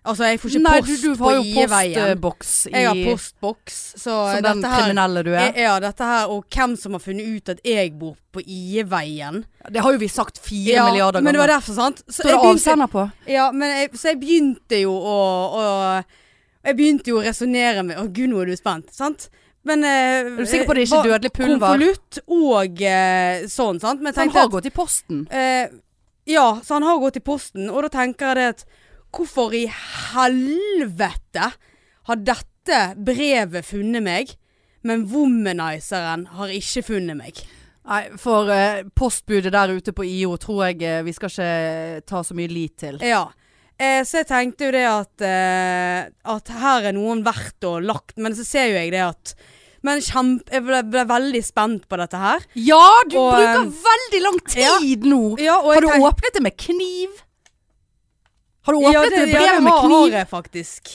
[SPEAKER 1] Altså, jeg får ikke
[SPEAKER 2] Nei, du,
[SPEAKER 1] post
[SPEAKER 2] du har
[SPEAKER 1] på
[SPEAKER 2] jo
[SPEAKER 1] Ieveien.
[SPEAKER 2] postboks i
[SPEAKER 1] Jeg har postboks, så
[SPEAKER 2] Som den
[SPEAKER 1] dette her
[SPEAKER 2] kriminelle du er.
[SPEAKER 1] Eh, ja, dette her, og hvem som har funnet ut at jeg bor på Ieveien.
[SPEAKER 2] Det har jo vi sagt fire
[SPEAKER 1] Ja,
[SPEAKER 2] milliarder
[SPEAKER 1] Men
[SPEAKER 2] ganger.
[SPEAKER 1] det var derfor, sant? Så
[SPEAKER 2] Står det avsender på?
[SPEAKER 1] ja, men jeg, så jeg begynte jo å, å Jeg begynte jo å resonnere med Å gud, nå er du spent, sant? Men Er
[SPEAKER 2] du sikker på det er ikke dødelig pulver?
[SPEAKER 1] Konvolutt og eh, sånn, sant? Men jeg
[SPEAKER 2] Den
[SPEAKER 1] tenkte
[SPEAKER 2] har
[SPEAKER 1] at
[SPEAKER 2] gått i posten.
[SPEAKER 1] eh, Ja, så han har gått i posten, og da tenker jeg det at Hvorfor i helvete har dette brevet funnet meg, men womanizeren har ikke funnet meg?
[SPEAKER 2] Nei, for eh, postbudet der ute på IO tror jeg eh, vi skal ikke ta så mye lit til.
[SPEAKER 1] Ja. Eh, så jeg tenkte jo det at eh, At her er noen verdt å lagt Men så ser jo jeg det at Men kjempe, jeg ble, ble veldig spent på dette her.
[SPEAKER 2] Ja, du
[SPEAKER 1] Og,
[SPEAKER 2] bruker
[SPEAKER 1] eh,
[SPEAKER 2] veldig lang tid nå!
[SPEAKER 1] Ja, og
[SPEAKER 2] Har du
[SPEAKER 1] tenk-
[SPEAKER 2] åpnet det med kniv? Har du åpnet
[SPEAKER 1] Ja,
[SPEAKER 2] det,
[SPEAKER 1] det, ja,
[SPEAKER 2] brevet
[SPEAKER 1] det
[SPEAKER 2] med
[SPEAKER 1] har, har
[SPEAKER 2] kniv?
[SPEAKER 1] jeg faktisk.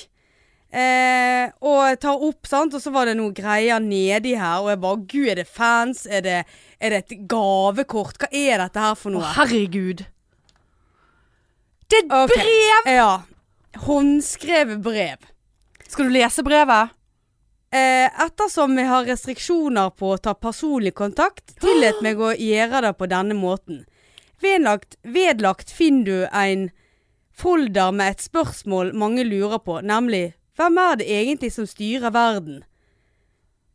[SPEAKER 1] Eh, og jeg tar opp, sant, og så var det noen greier nedi her, og jeg bare Gud, er det fans? Er det, er det et gavekort? Hva er dette her
[SPEAKER 2] Å,
[SPEAKER 1] for noe?
[SPEAKER 2] herregud. Det er et
[SPEAKER 1] Ok.
[SPEAKER 2] brev!
[SPEAKER 1] Ja. Håndskrevet brev.
[SPEAKER 2] Skal du lese brevet?
[SPEAKER 1] Eh, ettersom jeg har restriksjoner på å ta personlig kontakt, tillot meg å gjøre det på denne måten. Vedlagt, vedlagt finner du en folder med et spørsmål mange lurer på, nemlig Hvem er det egentlig som styrer verden?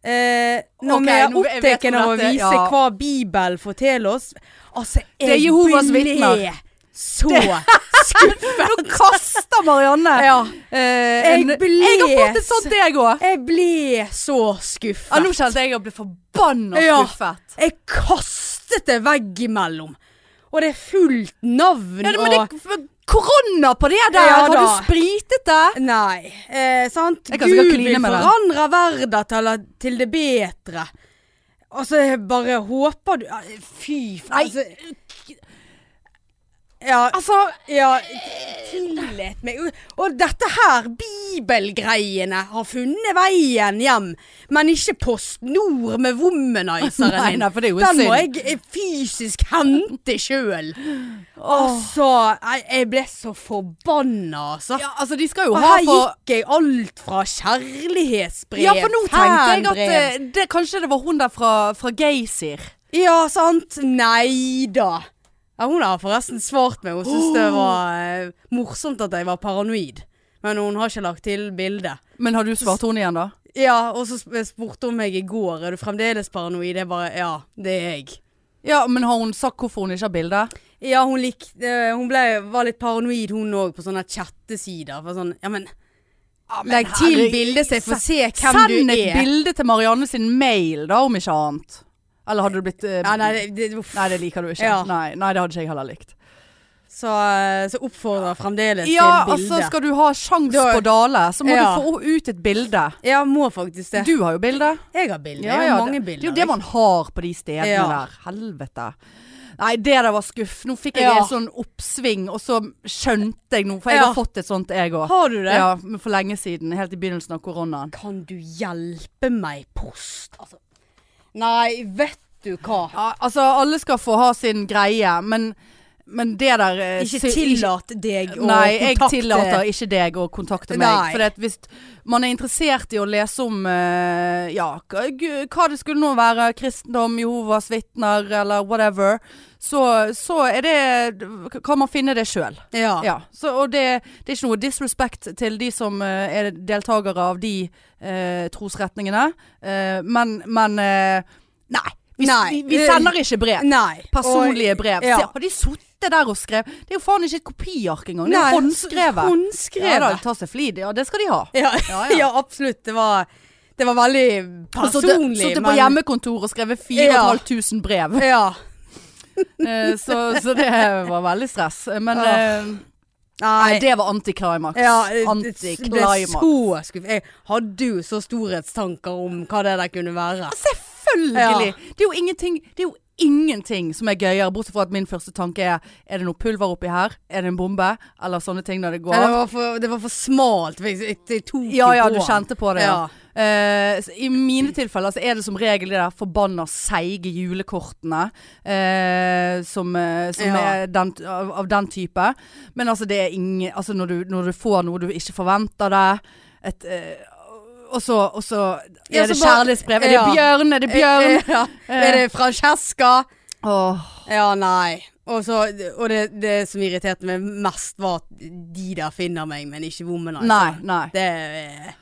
[SPEAKER 1] Eh, når
[SPEAKER 2] Ok,
[SPEAKER 1] vi
[SPEAKER 2] nå- jeg
[SPEAKER 1] er
[SPEAKER 2] vet
[SPEAKER 1] opptatt
[SPEAKER 2] hvor
[SPEAKER 1] av å
[SPEAKER 2] dette-
[SPEAKER 1] vise
[SPEAKER 2] ja.
[SPEAKER 1] hva Bibelen forteller oss Altså,
[SPEAKER 2] er
[SPEAKER 1] jeg
[SPEAKER 2] Jehovas
[SPEAKER 1] ble
[SPEAKER 2] vitner.
[SPEAKER 1] så skuffet!
[SPEAKER 2] Nå kaster Marianne!
[SPEAKER 1] Ja,
[SPEAKER 2] Eh,
[SPEAKER 1] Jeg
[SPEAKER 2] en-
[SPEAKER 1] ble
[SPEAKER 2] jeg har fått et sånt, jeg òg.
[SPEAKER 1] jeg ble så skuffet.
[SPEAKER 2] Ja, nå kjente jeg jeg ble forbanna
[SPEAKER 1] Ja.
[SPEAKER 2] skuffet.
[SPEAKER 1] Jeg kastet det veggimellom. Og det er fullt navn
[SPEAKER 2] Ja, men
[SPEAKER 1] og
[SPEAKER 2] det er korona på det der!
[SPEAKER 1] Ja,
[SPEAKER 2] har du
[SPEAKER 1] da.
[SPEAKER 2] spritet det?
[SPEAKER 1] Nei, eh, sant?
[SPEAKER 2] Jeg kan
[SPEAKER 1] Gud
[SPEAKER 2] sikkert
[SPEAKER 1] vil
[SPEAKER 2] kline med den.
[SPEAKER 1] forandre verden til, til det bedre. Altså, jeg bare håper du Fy faen.
[SPEAKER 2] Nei.
[SPEAKER 1] Altså, Ja,
[SPEAKER 2] Altså,
[SPEAKER 1] ja Tillit meg Og dette her, bibelgreiene, har funnet veien hjem. Men ikke Post Nord med womanizeren
[SPEAKER 2] Nei,
[SPEAKER 1] din.
[SPEAKER 2] nei, for det er jo
[SPEAKER 1] Den
[SPEAKER 2] synd.
[SPEAKER 1] må jeg eh, fysisk hente sjøl. Altså, jeg, jeg ble så forbanna, altså.
[SPEAKER 2] Ja, altså, de skal jo
[SPEAKER 1] Og
[SPEAKER 2] ha
[SPEAKER 1] her
[SPEAKER 2] for
[SPEAKER 1] gikk jeg alt fra kjærlighetsbrev,
[SPEAKER 2] Ja, for nå tenkte jeg at
[SPEAKER 1] fanbrev.
[SPEAKER 2] eh, det, kanskje det var hun der fra, fra Geysir.
[SPEAKER 1] eh, Ja, sant? Nei da. Ja, hun har forresten svart meg. Hun syntes det var eh, morsomt at jeg var paranoid. Men hun har ikke lagt til bildet.
[SPEAKER 2] Men har du svart hun igjen, da?
[SPEAKER 1] Ja, og så sp- spurte hun meg i går Er du fremdeles paranoid. Jeg bare Ja, det er jeg.
[SPEAKER 2] Ja, men har hun sagt hvorfor hun ikke har bilde?
[SPEAKER 1] Ja, hun likte eh, Hun ble, var litt paranoid, hun òg, på sånne chattesider. For sånn Ja, men legg til
[SPEAKER 2] herregud,
[SPEAKER 1] bildet, så jeg får se hvem
[SPEAKER 2] Send
[SPEAKER 1] du
[SPEAKER 2] et
[SPEAKER 1] er.
[SPEAKER 2] bilde til Marianne sin mail, da, om ikke annet. Eller hadde du blitt eh,
[SPEAKER 1] Ja, nei, det, det, uff.
[SPEAKER 2] nei, det liker du ikke.
[SPEAKER 1] Ja.
[SPEAKER 2] Nei, nei, det hadde ikke jeg heller likt.
[SPEAKER 1] Så, eh, så oppfordrer fremdeles
[SPEAKER 2] Ja,
[SPEAKER 1] til bildet.
[SPEAKER 2] altså skal du ha sjans
[SPEAKER 1] Da-
[SPEAKER 2] på Dale, så må
[SPEAKER 1] Ja.
[SPEAKER 2] du få ut et bilde.
[SPEAKER 1] Ja, må faktisk det.
[SPEAKER 2] Du har jo bilde.
[SPEAKER 1] Jeg har bilder. jeg
[SPEAKER 2] ja,
[SPEAKER 1] har mange
[SPEAKER 2] det,
[SPEAKER 1] bilder.
[SPEAKER 2] Det er jo det man har på de stedene
[SPEAKER 1] Ja.
[SPEAKER 2] der. Helvete. Nei, det der var skuff. Nå fikk jeg
[SPEAKER 1] Ja.
[SPEAKER 2] et sånn oppsving, og så skjønte jeg noe. For jeg
[SPEAKER 1] Ja.
[SPEAKER 2] har fått et sånt, jeg òg.
[SPEAKER 1] Har du det?
[SPEAKER 2] Ja, men for lenge siden. Helt i begynnelsen av koronaen.
[SPEAKER 1] Kan du hjelpe meg, post? Altså. Nei, vet du hva.
[SPEAKER 2] Ja, altså, alle skal få ha sin greie, men, men det der eh,
[SPEAKER 1] Ikke
[SPEAKER 2] sy-
[SPEAKER 1] tillat deg å
[SPEAKER 2] Nei, jeg
[SPEAKER 1] kontakte
[SPEAKER 2] tillater ikke deg å kontakte
[SPEAKER 1] Nei.
[SPEAKER 2] meg. For hvis man er interessert i å lese om eh, ja, k- g- hva det skulle nå være, kristendom, Jehovas vitner eller whatever, så, så er det Kan man finne det sjøl.
[SPEAKER 1] Ja.
[SPEAKER 2] Ja. Så, og det, det er ikke noe disrespect til de som eh, er deltakere av de eh, trosretningene, eh, men, men eh, Nei. Vi,
[SPEAKER 1] Nei.
[SPEAKER 2] vi, vi sender ikke brev.
[SPEAKER 1] Nei.
[SPEAKER 2] Personlige
[SPEAKER 1] Og-
[SPEAKER 2] brev.
[SPEAKER 1] Ja.
[SPEAKER 2] Se, har de sittet der og skrevet? Det er jo faen ikke et kopiark engang. Det er
[SPEAKER 1] Nei,
[SPEAKER 2] jo håndskrevet.
[SPEAKER 1] Håndskrevet.
[SPEAKER 2] Ja da, ta seg flid. Ja, det skal de ha.
[SPEAKER 1] Ja, ja,
[SPEAKER 2] Ja, ja.
[SPEAKER 1] absolutt. Det var, det var veldig
[SPEAKER 2] Personlig,
[SPEAKER 1] personlig.
[SPEAKER 2] Sittet på hjemmekontor og skrevet 4500 brev.
[SPEAKER 1] Ja.
[SPEAKER 2] Eh, så, så det var veldig stress. Men
[SPEAKER 1] Ah.
[SPEAKER 2] eh, nei, det var antiklimaks.
[SPEAKER 1] ja, det- det ble
[SPEAKER 2] antiklimaks.
[SPEAKER 1] så skuffet. Jeg hadde jo så storhetstanker om hva det der kunne være.
[SPEAKER 2] Selvfølgelig! Det er jo ingenting det er jo Ingenting som er gøyere, bortsett fra at min første tanke er Er det noe pulver oppi her? Er det en bombe? Eller sånne ting når det går
[SPEAKER 1] Nei,
[SPEAKER 2] av.
[SPEAKER 1] det, var for, det var for smalt. for Jeg, jeg, jeg tok jo
[SPEAKER 2] Ja, ja, du
[SPEAKER 1] på den.
[SPEAKER 2] kjente på det.
[SPEAKER 1] Ja.
[SPEAKER 2] Ja. Eh, så I mine tilfeller så er det som regel de der forbanna seige julekortene eh, som, eh, som
[SPEAKER 1] Ja.
[SPEAKER 2] er den, av, av den type. Men altså, det er ingen Altså, når du, når du får noe du ikke forventer deg, et eh, og så, og så er
[SPEAKER 1] Ja, så
[SPEAKER 2] det
[SPEAKER 1] bare-
[SPEAKER 2] kjærlighetsbrev. Er det
[SPEAKER 1] ja.
[SPEAKER 2] bjørn? Er det bjørn? Eh.
[SPEAKER 1] Eh, Ja. Er det Francesca?
[SPEAKER 2] Åh.
[SPEAKER 1] Ja, nei. Og, så, og det, det som irriterte meg mest, var at de der finner meg, men ikke womanizer.
[SPEAKER 2] Nei, nei.
[SPEAKER 1] Det er-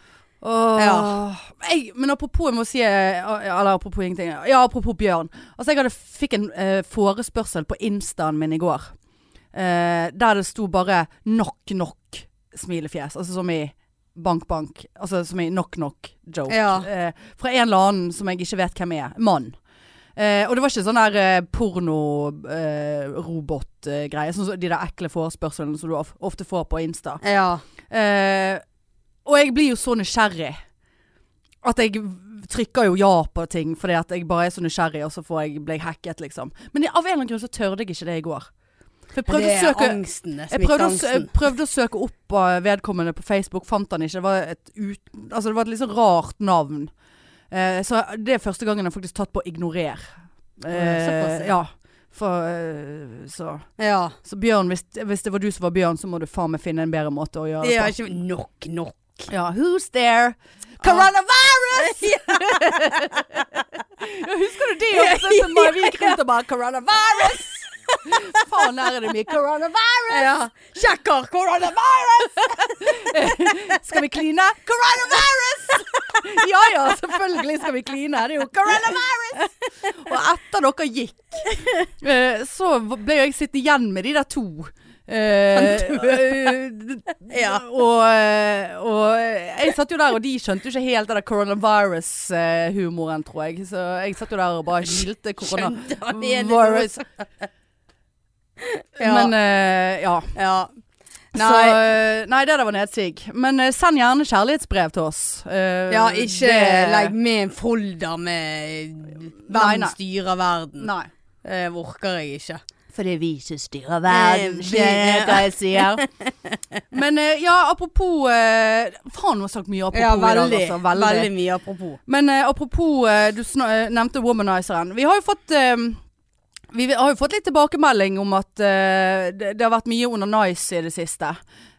[SPEAKER 2] Åh.
[SPEAKER 1] Ja.
[SPEAKER 2] Jeg, men apropos, jeg må si eh, Eller apropos ingenting. Ja, apropos bjørn. Altså, jeg hadde, fikk en eh, forespørsel på instaen min i går. eh, der det sto bare 'knock knock' smilefjes. Altså som i bank bank. Altså som i knock knock joke.
[SPEAKER 1] Ja.
[SPEAKER 2] Eh, fra en eller annen som jeg ikke vet hvem er. Mann. Eh, og det var ikke sånn der eh, porno-robot-greie. sånn som de der ekle forespørslene som du of- ofte får på Insta.
[SPEAKER 1] Ja.
[SPEAKER 2] Eh, og jeg blir jo så nysgjerrig at jeg trykker jo ja på ting fordi at jeg bare er så nysgjerrig, og så får jeg, ble jeg hacket, liksom. Men av en eller annen grunn så tørde jeg ikke det i går. For jeg prøvde
[SPEAKER 1] det
[SPEAKER 2] å
[SPEAKER 1] er
[SPEAKER 2] søke
[SPEAKER 1] angsten. Det er
[SPEAKER 2] jeg prøvde, å, sø-
[SPEAKER 1] smitteangsten.
[SPEAKER 2] prøvde å søke opp eh, vedkommende på Facebook, fant han ikke. Det var et, ut, altså det var et litt sånn rart navn. Eh, så det er første gangen jeg faktisk tatt på ignorer.
[SPEAKER 1] såpass, ja.
[SPEAKER 2] ja. For, eh, så.
[SPEAKER 1] Ja.
[SPEAKER 2] så Bjørn, hvis, hvis det var du som var Bjørn, så må du faen meg finne en bedre måte å gjøre
[SPEAKER 1] Det
[SPEAKER 2] det på.
[SPEAKER 1] er ikke nok, nok.
[SPEAKER 2] Ja, who's there? Coronavirus! Ja, Husker du det? Og så så bare vi gikk rundt og bare Coronavirus! Faen, her er det mye coronavirus!
[SPEAKER 1] Ja. Sjekker koronavirus!
[SPEAKER 2] Skal vi kline? Coronavirus! Ja ja, selvfølgelig skal vi kline. Det er jo coronavirus! Og etter dere gikk, eh, så ble jeg sittende igjen med de der to. Eh,
[SPEAKER 1] Ja.
[SPEAKER 2] og, eh, og jeg satt jo der, og de skjønte jo ikke helt den der coronavirus-humoren, tror jeg. Så jeg satt jo der og bare hylte
[SPEAKER 1] Skjønte han ene
[SPEAKER 2] coronavirus.
[SPEAKER 1] Ja.
[SPEAKER 2] Men eh, ja.
[SPEAKER 1] ja.
[SPEAKER 2] Nei.
[SPEAKER 1] Nei.
[SPEAKER 2] Så, eh, nei, det der var nedsig. Men eh, send gjerne kjærlighetsbrev til oss. Eh,
[SPEAKER 1] Ja, ikke
[SPEAKER 2] det-
[SPEAKER 1] legg med en folder med hvem
[SPEAKER 2] Nei, nei.
[SPEAKER 1] styrer verden.
[SPEAKER 2] Nei.
[SPEAKER 1] Det Eh, orker jeg ikke.
[SPEAKER 2] Fordi vi ikke styrer Eh,
[SPEAKER 1] verden, skjønner du hva
[SPEAKER 2] jeg sier? Men eh, ja, apropos eh, Faen, du har sagt mye apropos
[SPEAKER 1] Ja,
[SPEAKER 2] i dag,
[SPEAKER 1] veldig,
[SPEAKER 2] altså.
[SPEAKER 1] veldig. Veldig mye apropos.
[SPEAKER 2] Men eh, apropos, eh, du sna- eh, nevnte womanizeren. Vi har jo fått eh, Vi har jo fått litt tilbakemelding om at eh, det, det har vært mye under nice i det siste.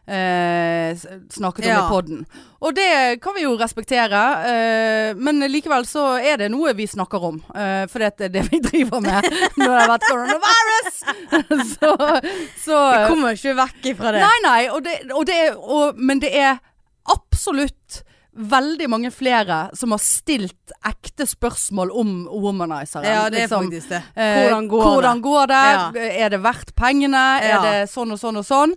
[SPEAKER 2] Eh, s- snakket om
[SPEAKER 1] Ja.
[SPEAKER 2] i podden. Og det kan vi jo respektere. eh, men likevel så er det noe vi snakker om. eh, for det er det vi driver med når det har vært coronavirus! så, så
[SPEAKER 1] Vi kommer ikke vekk ifra det.
[SPEAKER 2] Nei, nei, og det, og det er, og, men det er absolutt veldig mange flere som har stilt ekte spørsmål om womanizeren.
[SPEAKER 1] ja, det er
[SPEAKER 2] liksom.
[SPEAKER 1] faktisk det.
[SPEAKER 2] Eh,
[SPEAKER 1] Hvordan går
[SPEAKER 2] hvordan
[SPEAKER 1] det?
[SPEAKER 2] går
[SPEAKER 1] Ja.
[SPEAKER 2] det? Er det verdt pengene?
[SPEAKER 1] Ja.
[SPEAKER 2] Er det sånn og sånn og sånn?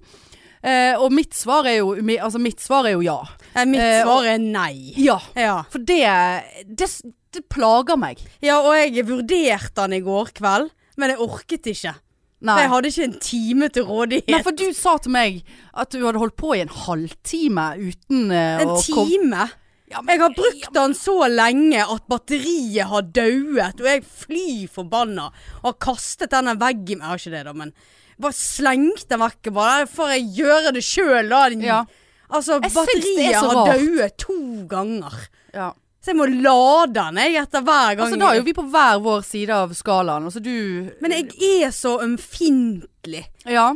[SPEAKER 2] Eh, og mitt svar er jo, mi- altså mitt svar er jo ja.
[SPEAKER 1] Eh, Mitt
[SPEAKER 2] Eh, og-
[SPEAKER 1] svar er nei.
[SPEAKER 2] Ja,
[SPEAKER 1] Ja.
[SPEAKER 2] for det, det, s- det plager meg.
[SPEAKER 1] ja, og jeg vurderte den i går kveld, men jeg orket ikke.
[SPEAKER 2] Nei.
[SPEAKER 1] For jeg hadde ikke en time til rådighet.
[SPEAKER 2] Nei, for du sa til meg at du hadde holdt på i en halvtime uten eh,
[SPEAKER 1] En
[SPEAKER 2] å komme
[SPEAKER 1] time?
[SPEAKER 2] Ja, men-
[SPEAKER 1] Jeg har brukt den så lenge at batteriet har dauet, og jeg er fly forbanna. Og har kastet denne veggen Jeg har ikke det, da, men bare slengt den vekk. og Bare får jeg gjøre det sjøl, da. din-
[SPEAKER 2] Ja.
[SPEAKER 1] Altså,
[SPEAKER 2] Jeg syns det er
[SPEAKER 1] batteriet
[SPEAKER 2] så
[SPEAKER 1] har
[SPEAKER 2] rart.
[SPEAKER 1] dauet to ganger.
[SPEAKER 2] Ja.
[SPEAKER 1] Så jeg må lade den jeg etter hver gang.
[SPEAKER 2] Altså, da er jo vi på hver vår side av skalaen. Altså, du
[SPEAKER 1] Men jeg er så ømfintlig.
[SPEAKER 2] Ja.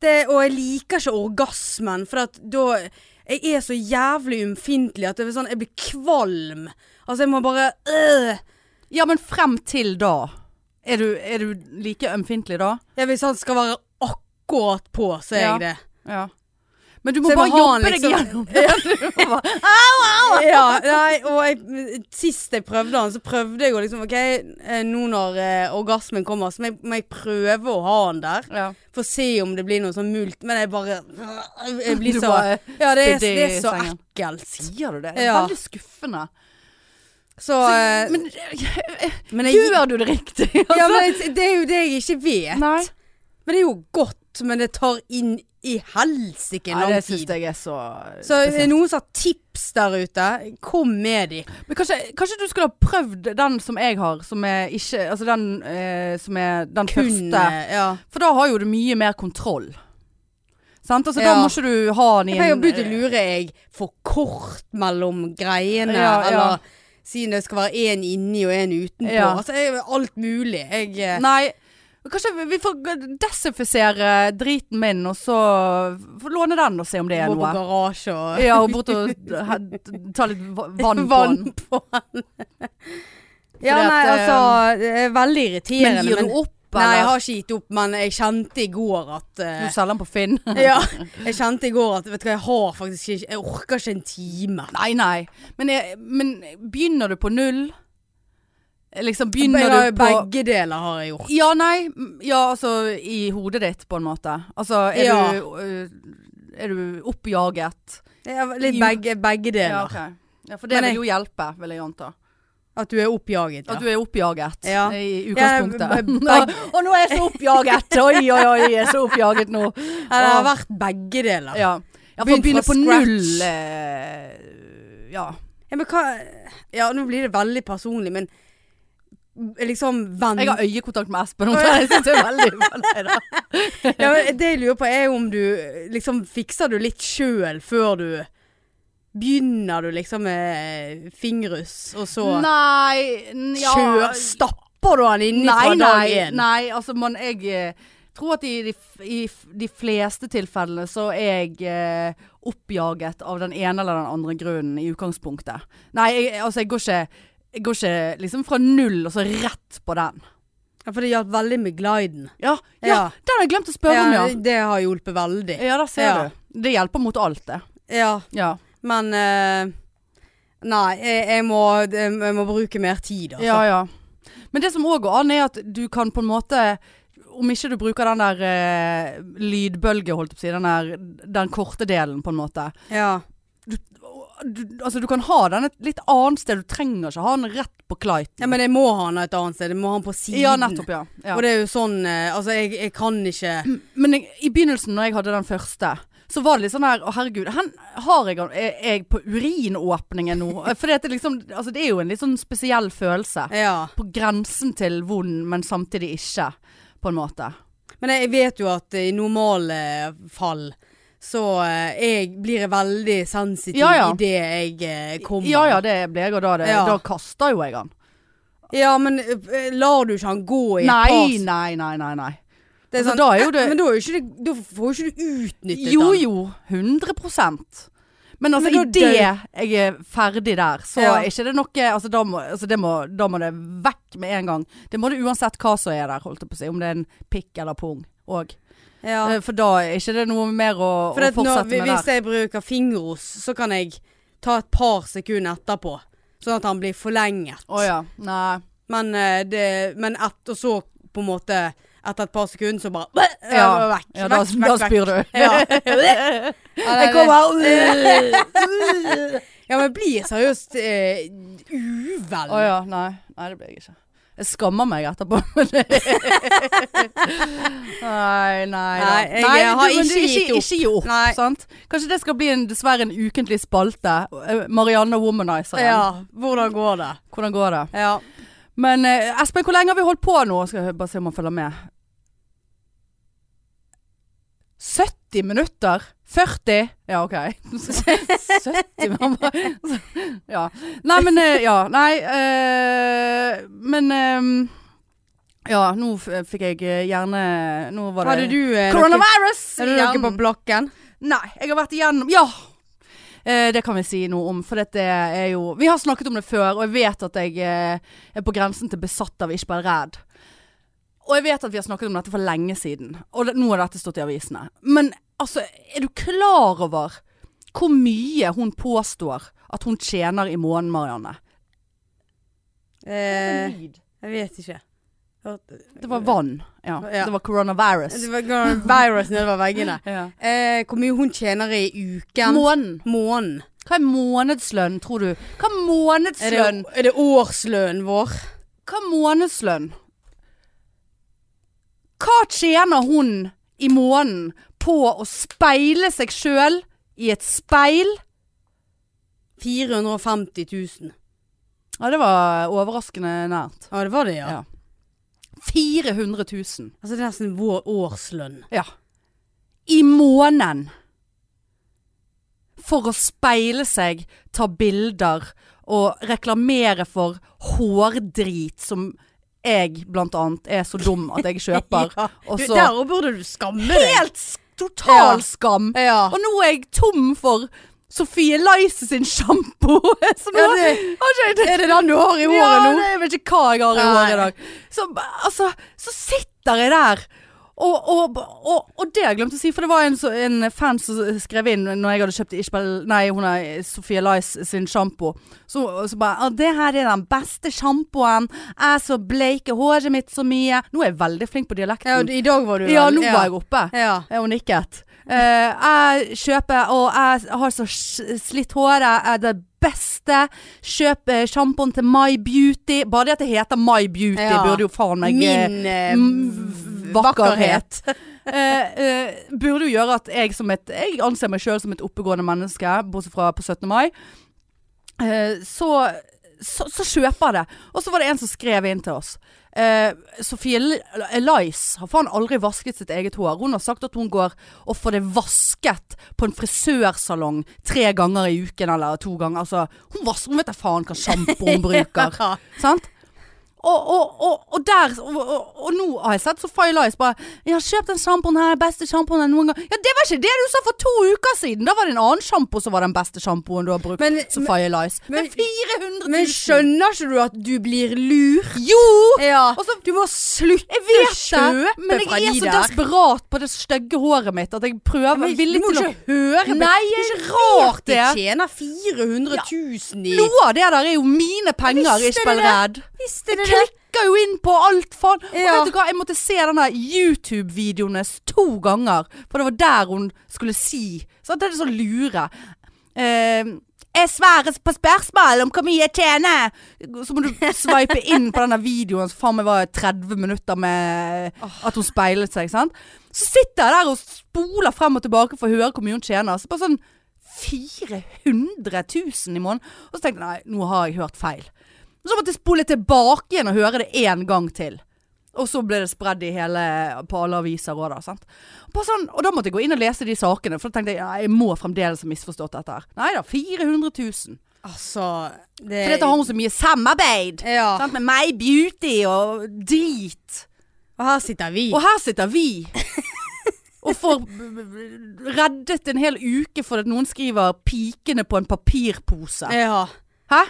[SPEAKER 1] det, og jeg liker ikke orgasmen, for at da Jeg er så jævlig ømfintlig at det er sånn, jeg blir kvalm. Altså, jeg må bare øh.
[SPEAKER 2] ja, men frem til da. Er du, er du like ømfintlig da?
[SPEAKER 1] Ja, Hvis han skal være akkurat på, så er
[SPEAKER 2] Ja.
[SPEAKER 1] jeg det.
[SPEAKER 2] Ja. Men du må
[SPEAKER 1] Så jeg
[SPEAKER 2] bare
[SPEAKER 1] må ha
[SPEAKER 2] jobbe
[SPEAKER 1] den
[SPEAKER 2] deg
[SPEAKER 1] liksom-
[SPEAKER 2] gjennom det. Du må bare-
[SPEAKER 1] Ja, nei, og jeg, Sist jeg prøvde han, så prøvde jeg å liksom OK, eh, nå når eh, orgasmen kommer, så må jeg, må jeg prøve å ha han der.
[SPEAKER 2] ja.
[SPEAKER 1] For å se om det blir noe sånn mult. Men jeg bare Jeg blir
[SPEAKER 2] Du
[SPEAKER 1] så
[SPEAKER 2] bare
[SPEAKER 1] Ja, det er,
[SPEAKER 2] spydde i
[SPEAKER 1] det er så
[SPEAKER 2] sengen.
[SPEAKER 1] ekkelt.
[SPEAKER 2] Sier du det? Det er
[SPEAKER 1] Ja.
[SPEAKER 2] veldig skuffende.
[SPEAKER 1] Så, eh,
[SPEAKER 2] men
[SPEAKER 1] men
[SPEAKER 2] gjør du det riktig?
[SPEAKER 1] Ja,
[SPEAKER 2] Altså?
[SPEAKER 1] men det- det er jo det jeg ikke vet.
[SPEAKER 2] Nei.
[SPEAKER 1] Men det er jo godt, men det tar inn i helsike
[SPEAKER 2] Nei,
[SPEAKER 1] lang
[SPEAKER 2] det syns
[SPEAKER 1] tid.
[SPEAKER 2] jeg er så
[SPEAKER 1] Så eh, er det
[SPEAKER 2] spesielt.
[SPEAKER 1] noen som har tips der ute, kom med de.
[SPEAKER 2] Men kanskje, kanskje du skulle ha prøvd den som jeg har, som er ikke Altså den eh, som er den
[SPEAKER 1] Kun
[SPEAKER 2] første.
[SPEAKER 1] eh, ja.
[SPEAKER 2] For da har jo du mye mer kontroll. Sant? Altså,
[SPEAKER 1] Ja.
[SPEAKER 2] Da må ikke du ha den i
[SPEAKER 1] Jeg har jo
[SPEAKER 2] en- eh,
[SPEAKER 1] begynt å lure jeg for kort mellom greiene,
[SPEAKER 2] Ja, ja.
[SPEAKER 1] eller siden det skal være én inni og én utenpå.
[SPEAKER 2] Ja.
[SPEAKER 1] Altså, jeg, alt mulig. Jeg, eh,
[SPEAKER 2] Nei. Kanskje vi- vi får g- desinfisere driten min, og så f- låne den og se om det er
[SPEAKER 1] går på
[SPEAKER 2] noe.
[SPEAKER 1] garasje og
[SPEAKER 2] Ja, og bort og he- ta litt va- vann på den.
[SPEAKER 1] på den.
[SPEAKER 2] Fordi
[SPEAKER 1] ja,
[SPEAKER 2] at,
[SPEAKER 1] nei,
[SPEAKER 2] eh,
[SPEAKER 1] altså Det er veldig irriterende.
[SPEAKER 2] Men gir du opp, eller?
[SPEAKER 1] Nei, jeg har ikke gitt opp, men jeg kjente i går at
[SPEAKER 2] Du
[SPEAKER 1] eh,
[SPEAKER 2] selger den på Finn.
[SPEAKER 1] ja, jeg kjente i går at vet du hva, jeg har faktisk ikke Jeg orker ikke en time.
[SPEAKER 2] Nei, nei. Men, jeg, men begynner du på null? Liksom
[SPEAKER 1] Jeg
[SPEAKER 2] begynner
[SPEAKER 1] har
[SPEAKER 2] du
[SPEAKER 1] jo
[SPEAKER 2] på
[SPEAKER 1] begge deler har jeg gjort.
[SPEAKER 2] Ja, nei. m- Ja, altså i hodet ditt, på en måte. Altså er
[SPEAKER 1] Ja.
[SPEAKER 2] du øh, Er du oppjaget?
[SPEAKER 1] Jeg har Litt
[SPEAKER 2] Jo.
[SPEAKER 1] begge, begge deler.
[SPEAKER 2] Ja, ok. ja, for det
[SPEAKER 1] Men
[SPEAKER 2] vil
[SPEAKER 1] jeg-
[SPEAKER 2] jo hjelpe, vil jeg anta.
[SPEAKER 1] At du er oppjaget. Ja.
[SPEAKER 2] At du er oppjaget
[SPEAKER 1] Ja.
[SPEAKER 2] eh, i utgangspunktet.
[SPEAKER 1] Ja, b- b-
[SPEAKER 2] og nå er jeg så oppjaget! Oi, oi, oi, jeg er så oppjaget nå.
[SPEAKER 1] Nei, det sånn, har vært begge deler. Ja.
[SPEAKER 2] Ja. ja for å
[SPEAKER 1] Begynt
[SPEAKER 2] begynne
[SPEAKER 1] fra
[SPEAKER 2] på
[SPEAKER 1] scratch.
[SPEAKER 2] null eh, Ja.
[SPEAKER 1] men hva Ja, nå blir det veldig personlig, men liksom venn...
[SPEAKER 2] Jeg har øyekontakt med Espen nå. Jeg synes det er veldig Nei da.
[SPEAKER 1] Ja, men det jeg lurer på er jo om du liksom fikser du litt sjøl før du Begynner du liksom med fingerus, og så
[SPEAKER 2] Nei n- ja.
[SPEAKER 1] kjør Stapper du han inni
[SPEAKER 2] Nei,
[SPEAKER 1] fra dag
[SPEAKER 2] nei,
[SPEAKER 1] én?
[SPEAKER 2] nei. Altså, man Jeg eh, tror at i de, f- i f- de fleste tilfellene så er jeg eh, oppjaget av den ene eller den andre grunnen i utgangspunktet. Nei, jeg, altså, jeg går ikke jeg går ikke liksom fra null og så rett på den.
[SPEAKER 1] Ja, for det hjalp veldig med gliden.
[SPEAKER 2] Ja, ja,
[SPEAKER 1] Ja.
[SPEAKER 2] den har jeg glemt å spørre om, ja. eh,
[SPEAKER 1] Det har hjulpet veldig.
[SPEAKER 2] Ja, der ser
[SPEAKER 1] Ja.
[SPEAKER 2] du. Det hjelper mot alt, det.
[SPEAKER 1] Ja,
[SPEAKER 2] Ja.
[SPEAKER 1] men eh, Nei, jeg, jeg, må, jeg må bruke mer tid, altså.
[SPEAKER 2] ja, ja. Men det som òg går an, er at du kan på en måte om ikke du bruker den der eh, lydbølge, holdt jeg på å si, den, der, den korte delen, på en måte.
[SPEAKER 1] Ja.
[SPEAKER 2] Du, altså, du kan ha den et litt annet sted. Du trenger ikke ha den rett på
[SPEAKER 1] ja,
[SPEAKER 2] kliten.
[SPEAKER 1] men jeg må ha han et annet sted. Jeg må ha han på siden.
[SPEAKER 2] Ja, nettopp, ja. ja.
[SPEAKER 1] Og det er jo sånn eh, Altså, jeg, jeg kan ikke
[SPEAKER 2] Men jeg, i begynnelsen, når jeg hadde den første, så var det litt sånn her Å, herregud, hen, har jeg, han- er jeg på urinåpningen nå? For det, liksom, altså, det er jo en litt sånn spesiell følelse.
[SPEAKER 1] Ja.
[SPEAKER 2] På grensen til vond, men samtidig ikke, på en måte.
[SPEAKER 1] Men jeg vet jo at eh, i normale fall så eh, jeg blir jeg veldig sensitiv
[SPEAKER 2] Ja, ja.
[SPEAKER 1] i det jeg eh, kommer.
[SPEAKER 2] Ja ja, det blir jeg, og da, er det,
[SPEAKER 1] Ja.
[SPEAKER 2] da kaster jo jeg han.
[SPEAKER 1] Ja, men eh, lar du ikke han gå i et
[SPEAKER 2] Nei,
[SPEAKER 1] par
[SPEAKER 2] nei, nei, nei. nei.
[SPEAKER 1] Det er
[SPEAKER 2] Altså,
[SPEAKER 1] sånn,
[SPEAKER 2] da er jo
[SPEAKER 1] eh,
[SPEAKER 2] det-
[SPEAKER 1] Men da, er jo ikke det, da får jo ikke du utnyttet
[SPEAKER 2] Jo
[SPEAKER 1] den.
[SPEAKER 2] jo, 100 men altså,
[SPEAKER 1] Men da
[SPEAKER 2] idet jeg er ferdig der, så
[SPEAKER 1] Ja.
[SPEAKER 2] er ikke det noe altså, da, må, altså, det må, da må det vekk med en gang. Det må det uansett hva som er der, holdt jeg på å si. Om det er en pikk eller pung òg.
[SPEAKER 1] Ja.
[SPEAKER 2] Eh, For da er ikke det noe mer å,
[SPEAKER 1] For
[SPEAKER 2] å
[SPEAKER 1] at når,
[SPEAKER 2] fortsette med
[SPEAKER 1] hvis
[SPEAKER 2] der.
[SPEAKER 1] jeg bruker fingeros, så kan jeg ta et par sekunder etterpå. Sånn at han blir forlenget.
[SPEAKER 2] Å ja. Nei.
[SPEAKER 1] Men, eh, det, men et, og så på en måte etter et par sekunder så bare ja. Vekk,
[SPEAKER 2] ja da,
[SPEAKER 1] vekk, vekk,
[SPEAKER 2] da spyr du.
[SPEAKER 1] Ja.
[SPEAKER 2] Jeg kommer
[SPEAKER 1] Ja, men jeg blir seriøst eh, uvel.
[SPEAKER 2] Å ja. Nei. Nei, det blir jeg ikke. Jeg skammer meg etterpå. men det- nei, nei.
[SPEAKER 1] Nei,
[SPEAKER 2] da.
[SPEAKER 1] jeg
[SPEAKER 2] du-
[SPEAKER 1] har
[SPEAKER 2] men du,
[SPEAKER 1] ikke gitt opp.
[SPEAKER 2] Ikke gi opp,
[SPEAKER 1] Nei.
[SPEAKER 2] sant? Kanskje det skal bli en, dessverre en ukentlig spalte. eh, Marianne Womanizer.
[SPEAKER 1] Ja, hvordan går det?
[SPEAKER 2] Hvordan går det?
[SPEAKER 1] Ja.
[SPEAKER 2] Men eh, Espen, hvor lenge har vi holdt på nå? Skal jeg bare se om han følger med. 70 minutter? 40? Ja, OK. 70 man bare- Ja. Nei, men eh, Ja. Nei. eh, men eh, Ja, nå f- fikk jeg eh, gjerne Nå var det
[SPEAKER 1] Hadde du eh, noe,
[SPEAKER 2] Coronavirus!
[SPEAKER 1] hadde du
[SPEAKER 2] i
[SPEAKER 1] noe
[SPEAKER 2] hjernen.
[SPEAKER 1] på blokken?
[SPEAKER 2] Nei, jeg har vært igjennom Ja! Eh, det kan vi si noe om, for dette er jo Vi har snakket om det før, og jeg vet at jeg eh, er på grensen til besatt av ikke bare redd. Og jeg vet at vi har snakket om dette for lenge siden, og det, nå har dette stått i avisene. Men altså, er du klar over hvor mye hun påstår at hun tjener i måneden, Marianne?
[SPEAKER 1] Eh, jeg vet ikke. Hørte-
[SPEAKER 2] Det var vann. Ja.
[SPEAKER 1] Ja.
[SPEAKER 2] Det var coronavirus.
[SPEAKER 1] Det var virus nedover veggene.
[SPEAKER 2] Ja.
[SPEAKER 1] Eh, hvor mye hun tjener i uken?
[SPEAKER 2] Måneden.
[SPEAKER 1] Måneden.
[SPEAKER 2] Hva er månedslønn, tror du? Hva er
[SPEAKER 1] Er det,
[SPEAKER 2] månedslønn?
[SPEAKER 1] er det årslønnen vår?
[SPEAKER 2] Hva månedslønn? Hva tjener hun i måneden på å speile seg sjøl i et speil?
[SPEAKER 1] 450 000.
[SPEAKER 2] Ja, det var overraskende nært.
[SPEAKER 1] Ja, det var det, ja.
[SPEAKER 2] Ja. 400 000.
[SPEAKER 1] Altså det er nesten vår årslønn.
[SPEAKER 2] Ja. I måneden. For å speile seg, ta bilder og reklamere for hårdrit som jeg blant annet er så dum at jeg kjøper.
[SPEAKER 1] Ja.
[SPEAKER 2] Og
[SPEAKER 1] Du,
[SPEAKER 2] så-
[SPEAKER 1] der burde du skamme deg.
[SPEAKER 2] Helt s- total
[SPEAKER 1] Ja.
[SPEAKER 2] skam.
[SPEAKER 1] Ja.
[SPEAKER 2] Ah. Og nå er jeg tom for Sofie Lyse sin sjampo. Så nå
[SPEAKER 1] Ja, det-
[SPEAKER 2] har ikke jeg det.
[SPEAKER 1] Er det den du har i håret
[SPEAKER 2] Ja,
[SPEAKER 1] nå?
[SPEAKER 2] det, jeg vet ikke hva jeg har i håret i
[SPEAKER 1] Nei.
[SPEAKER 2] dag. Så, b- altså, så sitter jeg der. Og, og, og, og det har jeg glemt å si, for det var en, så- en fan som skrev inn når jeg hadde kjøpt Ishbel- Nei, hun er Sofie Lice sin sjampo. Så, så bare «Å, 'Det her er den beste sjampoen. Jeg så bleike håret mitt så mye.' Nå er jeg veldig flink på dialekten.
[SPEAKER 1] Ja,
[SPEAKER 2] Ja,
[SPEAKER 1] I dag var du
[SPEAKER 2] nå var jeg oppe.
[SPEAKER 1] Ja.
[SPEAKER 2] Ja, hun nikket. Eh, jeg kjøper, og jeg har så s- slitt hår, jeg er det beste. Kjøp eh, sjampoen til My Beauty. Bare det at det heter My Beauty,
[SPEAKER 1] Ja.
[SPEAKER 2] burde jo faen meg eh,
[SPEAKER 1] Min eh,
[SPEAKER 2] mm, vakkerhet. eh, eh, burde jo gjøre at jeg som et Jeg anser meg sjøl som et oppegående menneske, bortsett fra på 17. mai. Eh, så, så, så kjøper jeg det. Og så var det en som skrev inn til oss. Eh, Sofie L- Elice har faen aldri vasket sitt eget hår. Hun har sagt at hun går og får det vasket på en frisørsalong tre ganger i uken eller to ganger. Altså, hun, vas hun vet da faen hva sjampo hun bruker.
[SPEAKER 1] Ja.
[SPEAKER 2] Sant? Og, og, og, og der og, og, og nå har jeg sett Sofie Lice bare 'Jeg har kjøpt den sjampoen her, beste sjampoen jeg noen gang' Ja, det var ikke det du sa for to uker siden! Da var det en annen sjampo som var den beste sjampoen du har brukt.
[SPEAKER 1] Men-
[SPEAKER 2] Sofie Lice. Men,
[SPEAKER 1] men-
[SPEAKER 2] 400 000!
[SPEAKER 1] Men skjønner ikke du at du blir lur?
[SPEAKER 2] Jo!
[SPEAKER 1] Ja.
[SPEAKER 2] Og så,
[SPEAKER 1] Du må slutte
[SPEAKER 2] jeg vet
[SPEAKER 1] å kjøpe
[SPEAKER 2] det, men
[SPEAKER 1] fra
[SPEAKER 2] jeg er
[SPEAKER 1] de
[SPEAKER 2] så
[SPEAKER 1] der.
[SPEAKER 2] desperat på det stygge håret mitt at jeg prøver
[SPEAKER 1] Men
[SPEAKER 2] villig
[SPEAKER 1] du må
[SPEAKER 2] til å-
[SPEAKER 1] ikke høre på-
[SPEAKER 2] Nei,
[SPEAKER 1] Det er
[SPEAKER 2] jeg
[SPEAKER 1] ikke rart
[SPEAKER 2] vet
[SPEAKER 1] de
[SPEAKER 2] det.
[SPEAKER 1] tjener 400 000 i
[SPEAKER 2] Noe av det der er jo mine penger,
[SPEAKER 1] visste
[SPEAKER 2] ikke spill
[SPEAKER 1] det der.
[SPEAKER 2] redd.
[SPEAKER 1] Visste
[SPEAKER 2] Jeg klikker jo inn på alt, faen. Og
[SPEAKER 1] Ja.
[SPEAKER 2] vet du hva, jeg måtte se denne YouTube-videoen hennes to ganger. For det var der hun skulle si Så det er så lure. Eh, jeg svarer på spørsmål om hvor mye jeg tjener. Så må du sveipe inn på denne videoen som faen meg var 30 minutter med at hun speilet seg. sant? Så sitter jeg der og spoler frem og tilbake for å høre hvor mye hun tjener. Så bare sånn 400 000 i måneden. Og så tenkte jeg nei, nå har jeg hørt feil. Så måtte jeg spole tilbake igjen og høre det én gang til. Og så ble det spredd i hele, på alle aviser òg, da. Sant? Og Bare sånn, og da måtte jeg gå inn og lese de sakene, for da tenkte jeg ja, jeg må fremdeles ha misforstått dette her. Nei da, 400 000.
[SPEAKER 1] Altså det,
[SPEAKER 2] For dette har hun så mye samarbeid
[SPEAKER 1] Ja.
[SPEAKER 2] sant? med My Beauty og drit.
[SPEAKER 1] Og her sitter vi.
[SPEAKER 2] Og her sitter vi og får reddet en hel uke fordi at noen skriver 'pikene på en papirpose'.
[SPEAKER 1] Ja.
[SPEAKER 2] Hæ?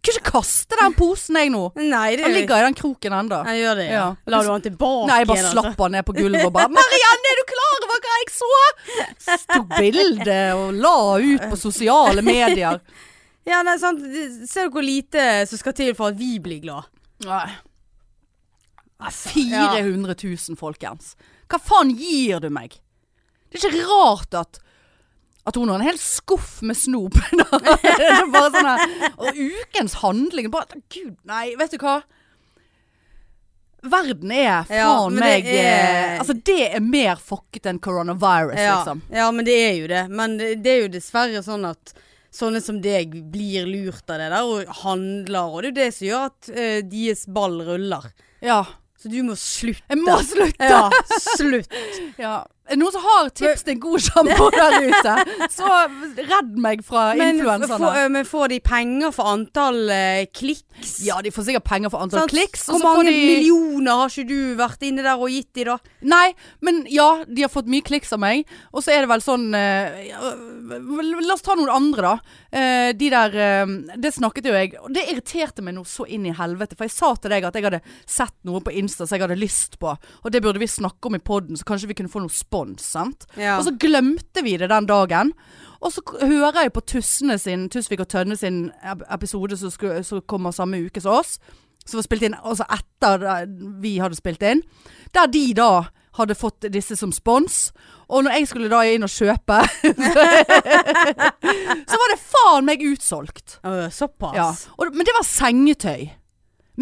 [SPEAKER 2] Kunne ikke kaste den posen jeg nå.
[SPEAKER 1] Nei, det
[SPEAKER 2] Han ligger i den kroken ennå.
[SPEAKER 1] Han gjør det, ja.
[SPEAKER 2] Ja.
[SPEAKER 1] La du han tilbake
[SPEAKER 2] Nei, jeg bare
[SPEAKER 1] igjen, altså.
[SPEAKER 2] slapp han ned på gulvet og bare 'Marianne, er du klar over hva jeg så?' Tok bilde og la ut på sosiale medier.
[SPEAKER 1] Altså. Ja, nei, sant. Det- Ser du hvor lite som skal til for at vi blir glad?
[SPEAKER 2] Nei. 400 000, folkens. Hva faen gir du meg? Det er ikke rart at at hun har en hel skuff med snop. Det er bare sånn her- Og ukens handling bare, Gud, nei, vet du hva? Verden er
[SPEAKER 1] Ja,
[SPEAKER 2] faen
[SPEAKER 1] men det
[SPEAKER 2] meg
[SPEAKER 1] er-
[SPEAKER 2] eh, Altså, det er mer fucket enn coronavirus,
[SPEAKER 1] Ja.
[SPEAKER 2] liksom.
[SPEAKER 1] ja, men det er jo det. Men det, det er jo dessverre sånn at sånne som deg blir lurt av det der, og handler, og det er jo det som gjør at eh, deres ball ruller.
[SPEAKER 2] Ja.
[SPEAKER 1] Så du må slutte.
[SPEAKER 2] Jeg må slutte!
[SPEAKER 1] Ja, slutt.
[SPEAKER 2] Ja. Er det noen som har tips til en god sjampo der ute, så redd meg fra
[SPEAKER 1] Men, få,
[SPEAKER 2] influenserne.
[SPEAKER 1] eh, men får de penger for antall eh, klikks?
[SPEAKER 2] Ja, de får sikkert penger for antall
[SPEAKER 1] Sant?
[SPEAKER 2] kliks. og
[SPEAKER 1] Hvor
[SPEAKER 2] så får
[SPEAKER 1] mange
[SPEAKER 2] de-
[SPEAKER 1] millioner har ikke du vært inne der og gitt de da?
[SPEAKER 2] Nei, men ja, de har fått mye kliks av meg. Og så er det vel sånn eh, ja, vel, La oss ta noen andre, da. Eh, de der eh, Det snakket jo jeg Og det irriterte meg noe så inn i helvete. For jeg sa til deg at jeg hadde sett noe på Insta som jeg hadde lyst på. Og det burde vi snakke om i poden, så kanskje vi kunne få noe spons. sant?
[SPEAKER 1] Ja.
[SPEAKER 2] Og så glemte vi det den dagen. Og så k- hører jeg på Tussene sin, Tusvik og Tønne sin ep- episode som, skulle, som kommer samme uke som oss. Som var spilt inn altså etter det vi hadde spilt inn. Der de da hadde fått disse som spons. Og når jeg skulle da inn og kjøpe Så var det faen meg utsolgt.
[SPEAKER 1] Å, såpass?
[SPEAKER 2] Ja. Og, men det var sengetøy.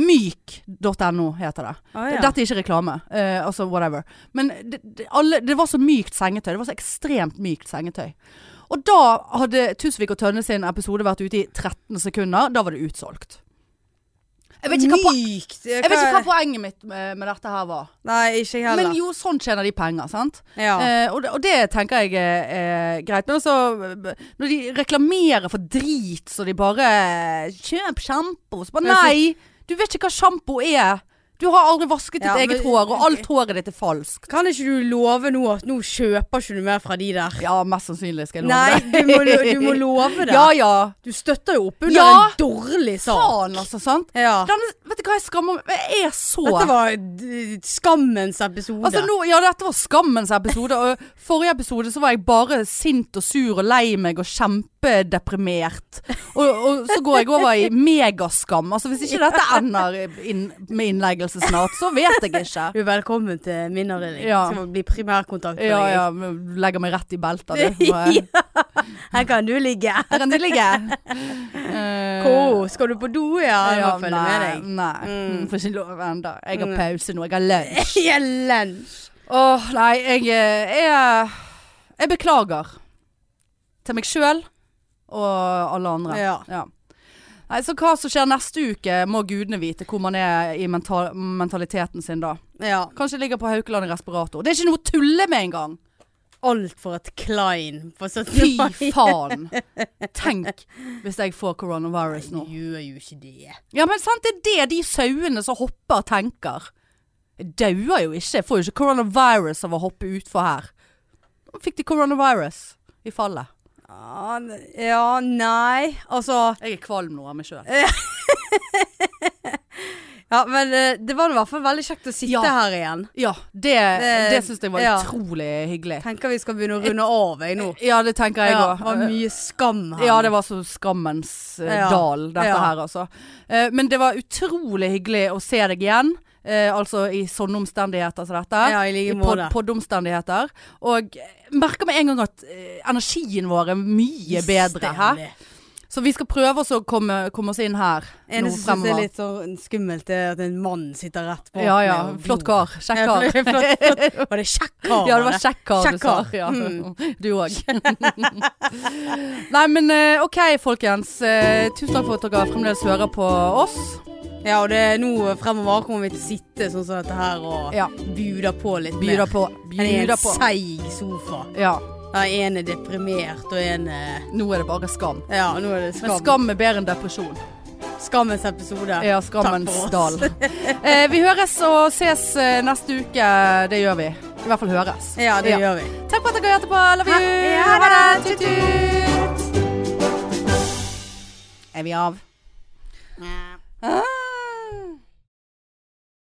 [SPEAKER 2] Myk.no heter det.
[SPEAKER 1] Å, ja.
[SPEAKER 2] Dette er ikke reklame. eh, altså whatever. Men det, det, alle, det var så mykt sengetøy. Det var så ekstremt mykt sengetøy. Og da hadde Tusvik og Tønne sin episode vært ute i 13 sekunder. Da var det utsolgt. Jeg vet ikke hva, po-
[SPEAKER 1] Mykt.
[SPEAKER 2] jeg vet ikke hva poenget mitt med, med dette her var.
[SPEAKER 1] Nei, ikke heller.
[SPEAKER 2] Men jo, sånn tjener de penger, sant?
[SPEAKER 1] ja.
[SPEAKER 2] Eh, og, det, og det tenker jeg er, er greit. Men altså, når de reklamerer for drit, så de bare eh, Kjøp sjampo. Så bare
[SPEAKER 1] Men så-
[SPEAKER 2] nei! Du vet ikke hva sjampo er. Du har aldri vasket ditt
[SPEAKER 1] Ja,
[SPEAKER 2] eget
[SPEAKER 1] men-
[SPEAKER 2] hår, og alt håret ditt er falskt.
[SPEAKER 1] Kan ikke du love nå at nå kjøper ikke du mer fra de der?
[SPEAKER 2] Ja, mest sannsynlig skal jeg love
[SPEAKER 1] Nei, du
[SPEAKER 2] det.
[SPEAKER 1] må, lo- du må love det.
[SPEAKER 2] Ja ja.
[SPEAKER 1] Du støtter jo opp under
[SPEAKER 2] Ja.
[SPEAKER 1] en dårlig sak.
[SPEAKER 2] Faen, altså. Sant?
[SPEAKER 1] Ja.
[SPEAKER 2] Denne, vet du hva jeg skammer meg Jeg er så
[SPEAKER 1] Dette var d- skammens episode.
[SPEAKER 2] Altså nå, ja, dette var skammens episode. Og forrige episode så var jeg bare sint og sur og lei meg og kjempedeprimert. Og, og så går jeg over i megaskam. Altså hvis ikke dette ender inn, med innleggelse snart, så vet jeg ikke.
[SPEAKER 1] du er velkommen til min avdeling.
[SPEAKER 2] Ja.
[SPEAKER 1] Skal bli primærkontakt med
[SPEAKER 2] Ja
[SPEAKER 1] deg.
[SPEAKER 2] ja, men legger meg rett i beltet. du. Bare,
[SPEAKER 1] Her kan du ligge.
[SPEAKER 2] Her kan du ligge. Eh,
[SPEAKER 1] Ko, skal du på do? Ja, jeg må følge med
[SPEAKER 2] nei,
[SPEAKER 1] deg.
[SPEAKER 2] nei.
[SPEAKER 1] Mm.
[SPEAKER 2] Får ikke lov ennå. Jeg har
[SPEAKER 1] Mm.
[SPEAKER 2] pause nå. Jeg har lunsj.
[SPEAKER 1] Ellen.
[SPEAKER 2] Åh, nei, jeg, eh, jeg Jeg beklager Til meg selv Og alle andre
[SPEAKER 1] Ja.
[SPEAKER 2] Nei, så hva som skjer neste uke Må gudene vite hvor man er i mental mentaliteten sin da
[SPEAKER 1] ja.
[SPEAKER 2] Kanskje ligger på Haukeland i respirator Det er ikke noe å tulle med en gang
[SPEAKER 1] Alt for et klein på 17.
[SPEAKER 2] Fy
[SPEAKER 1] mai.
[SPEAKER 2] faen Tenk hvis jeg får coronavirus nå
[SPEAKER 1] Du gjør jo ikke det.
[SPEAKER 2] Ja, men sant, det er det de sauene som hopper tenker. Jeg dauer jo ikke. Jeg får jo ikke coronavirus av å hoppe utfor her. Nå fikk de coronavirus i fallet.
[SPEAKER 1] Ja, n- Ja, nei. Altså
[SPEAKER 2] Jeg er kvalm nå av meg sjøl.
[SPEAKER 1] Ja, men eh, det var i hvert fall veldig kjekt å sitte
[SPEAKER 2] Ja.
[SPEAKER 1] her igjen.
[SPEAKER 2] Ja, det,
[SPEAKER 1] Det-
[SPEAKER 2] det syns jeg var
[SPEAKER 1] ja.
[SPEAKER 2] utrolig hyggelig.
[SPEAKER 1] Tenker vi skal begynne å runde av jeg nå.
[SPEAKER 2] Ja, det tenker jeg
[SPEAKER 1] Ja,
[SPEAKER 2] òg.
[SPEAKER 1] det var mye skam her.
[SPEAKER 2] Ja, det var så skammens eh,
[SPEAKER 1] Ja.
[SPEAKER 2] dal, dette
[SPEAKER 1] Ja.
[SPEAKER 2] her, altså. Eh, men det var utrolig hyggelig å se deg igjen. eh, altså i sånne omstendigheter som dette.
[SPEAKER 1] Ja, i like
[SPEAKER 2] I pod
[SPEAKER 1] måte.
[SPEAKER 2] poddomstendigheter. Og jeg merker med en gang at eh, energien vår er mye bedre. Hæ?
[SPEAKER 1] Stemmer.
[SPEAKER 2] Så vi skal prøve oss å komme, komme oss inn her nå
[SPEAKER 1] Eneste som synes er
[SPEAKER 2] fremover.
[SPEAKER 1] litt sånn skummelt, er at en mann sitter rett på.
[SPEAKER 2] Ja ja,
[SPEAKER 1] meg og
[SPEAKER 2] flott kar.
[SPEAKER 1] glor.
[SPEAKER 2] Kjekk
[SPEAKER 1] Ja,
[SPEAKER 2] kar.
[SPEAKER 1] flott- flott- flott. Var det kjekk kar?
[SPEAKER 2] Ja, det var kjekk kar du
[SPEAKER 1] Kjekk
[SPEAKER 2] sa.
[SPEAKER 1] kar.
[SPEAKER 2] Ja.
[SPEAKER 1] Mm.
[SPEAKER 2] Du òg. Nei, men eh, OK, folkens. Eh, Tusen takk for at dere fremdeles hører på oss.
[SPEAKER 1] Ja, og det er nå fremover kommer vi til å sitte sånn som dette her og
[SPEAKER 2] Ja.
[SPEAKER 1] bjuda på litt
[SPEAKER 2] Bjuda
[SPEAKER 1] mer.
[SPEAKER 2] på.
[SPEAKER 1] Men i en
[SPEAKER 2] Bjuda på.
[SPEAKER 1] seig sofa.
[SPEAKER 2] Ja.
[SPEAKER 1] Der en er deprimert, og en er
[SPEAKER 2] Nå er det bare skam.
[SPEAKER 1] Ja, nå er det
[SPEAKER 2] Men
[SPEAKER 1] skam.
[SPEAKER 2] skam er bedre enn depresjon.
[SPEAKER 1] Skammens episode.
[SPEAKER 2] Ja,
[SPEAKER 1] Takk
[SPEAKER 2] skammens
[SPEAKER 1] for oss.
[SPEAKER 2] dal. Eh, vi høres og ses eh, neste uke. Det gjør vi. I hvert fall høres.
[SPEAKER 1] Ja, det gjør vi.
[SPEAKER 2] Takk for at dere hørte på. Love you.
[SPEAKER 1] Ja, ha det.
[SPEAKER 2] Tut-tut. Er vi av? Ah.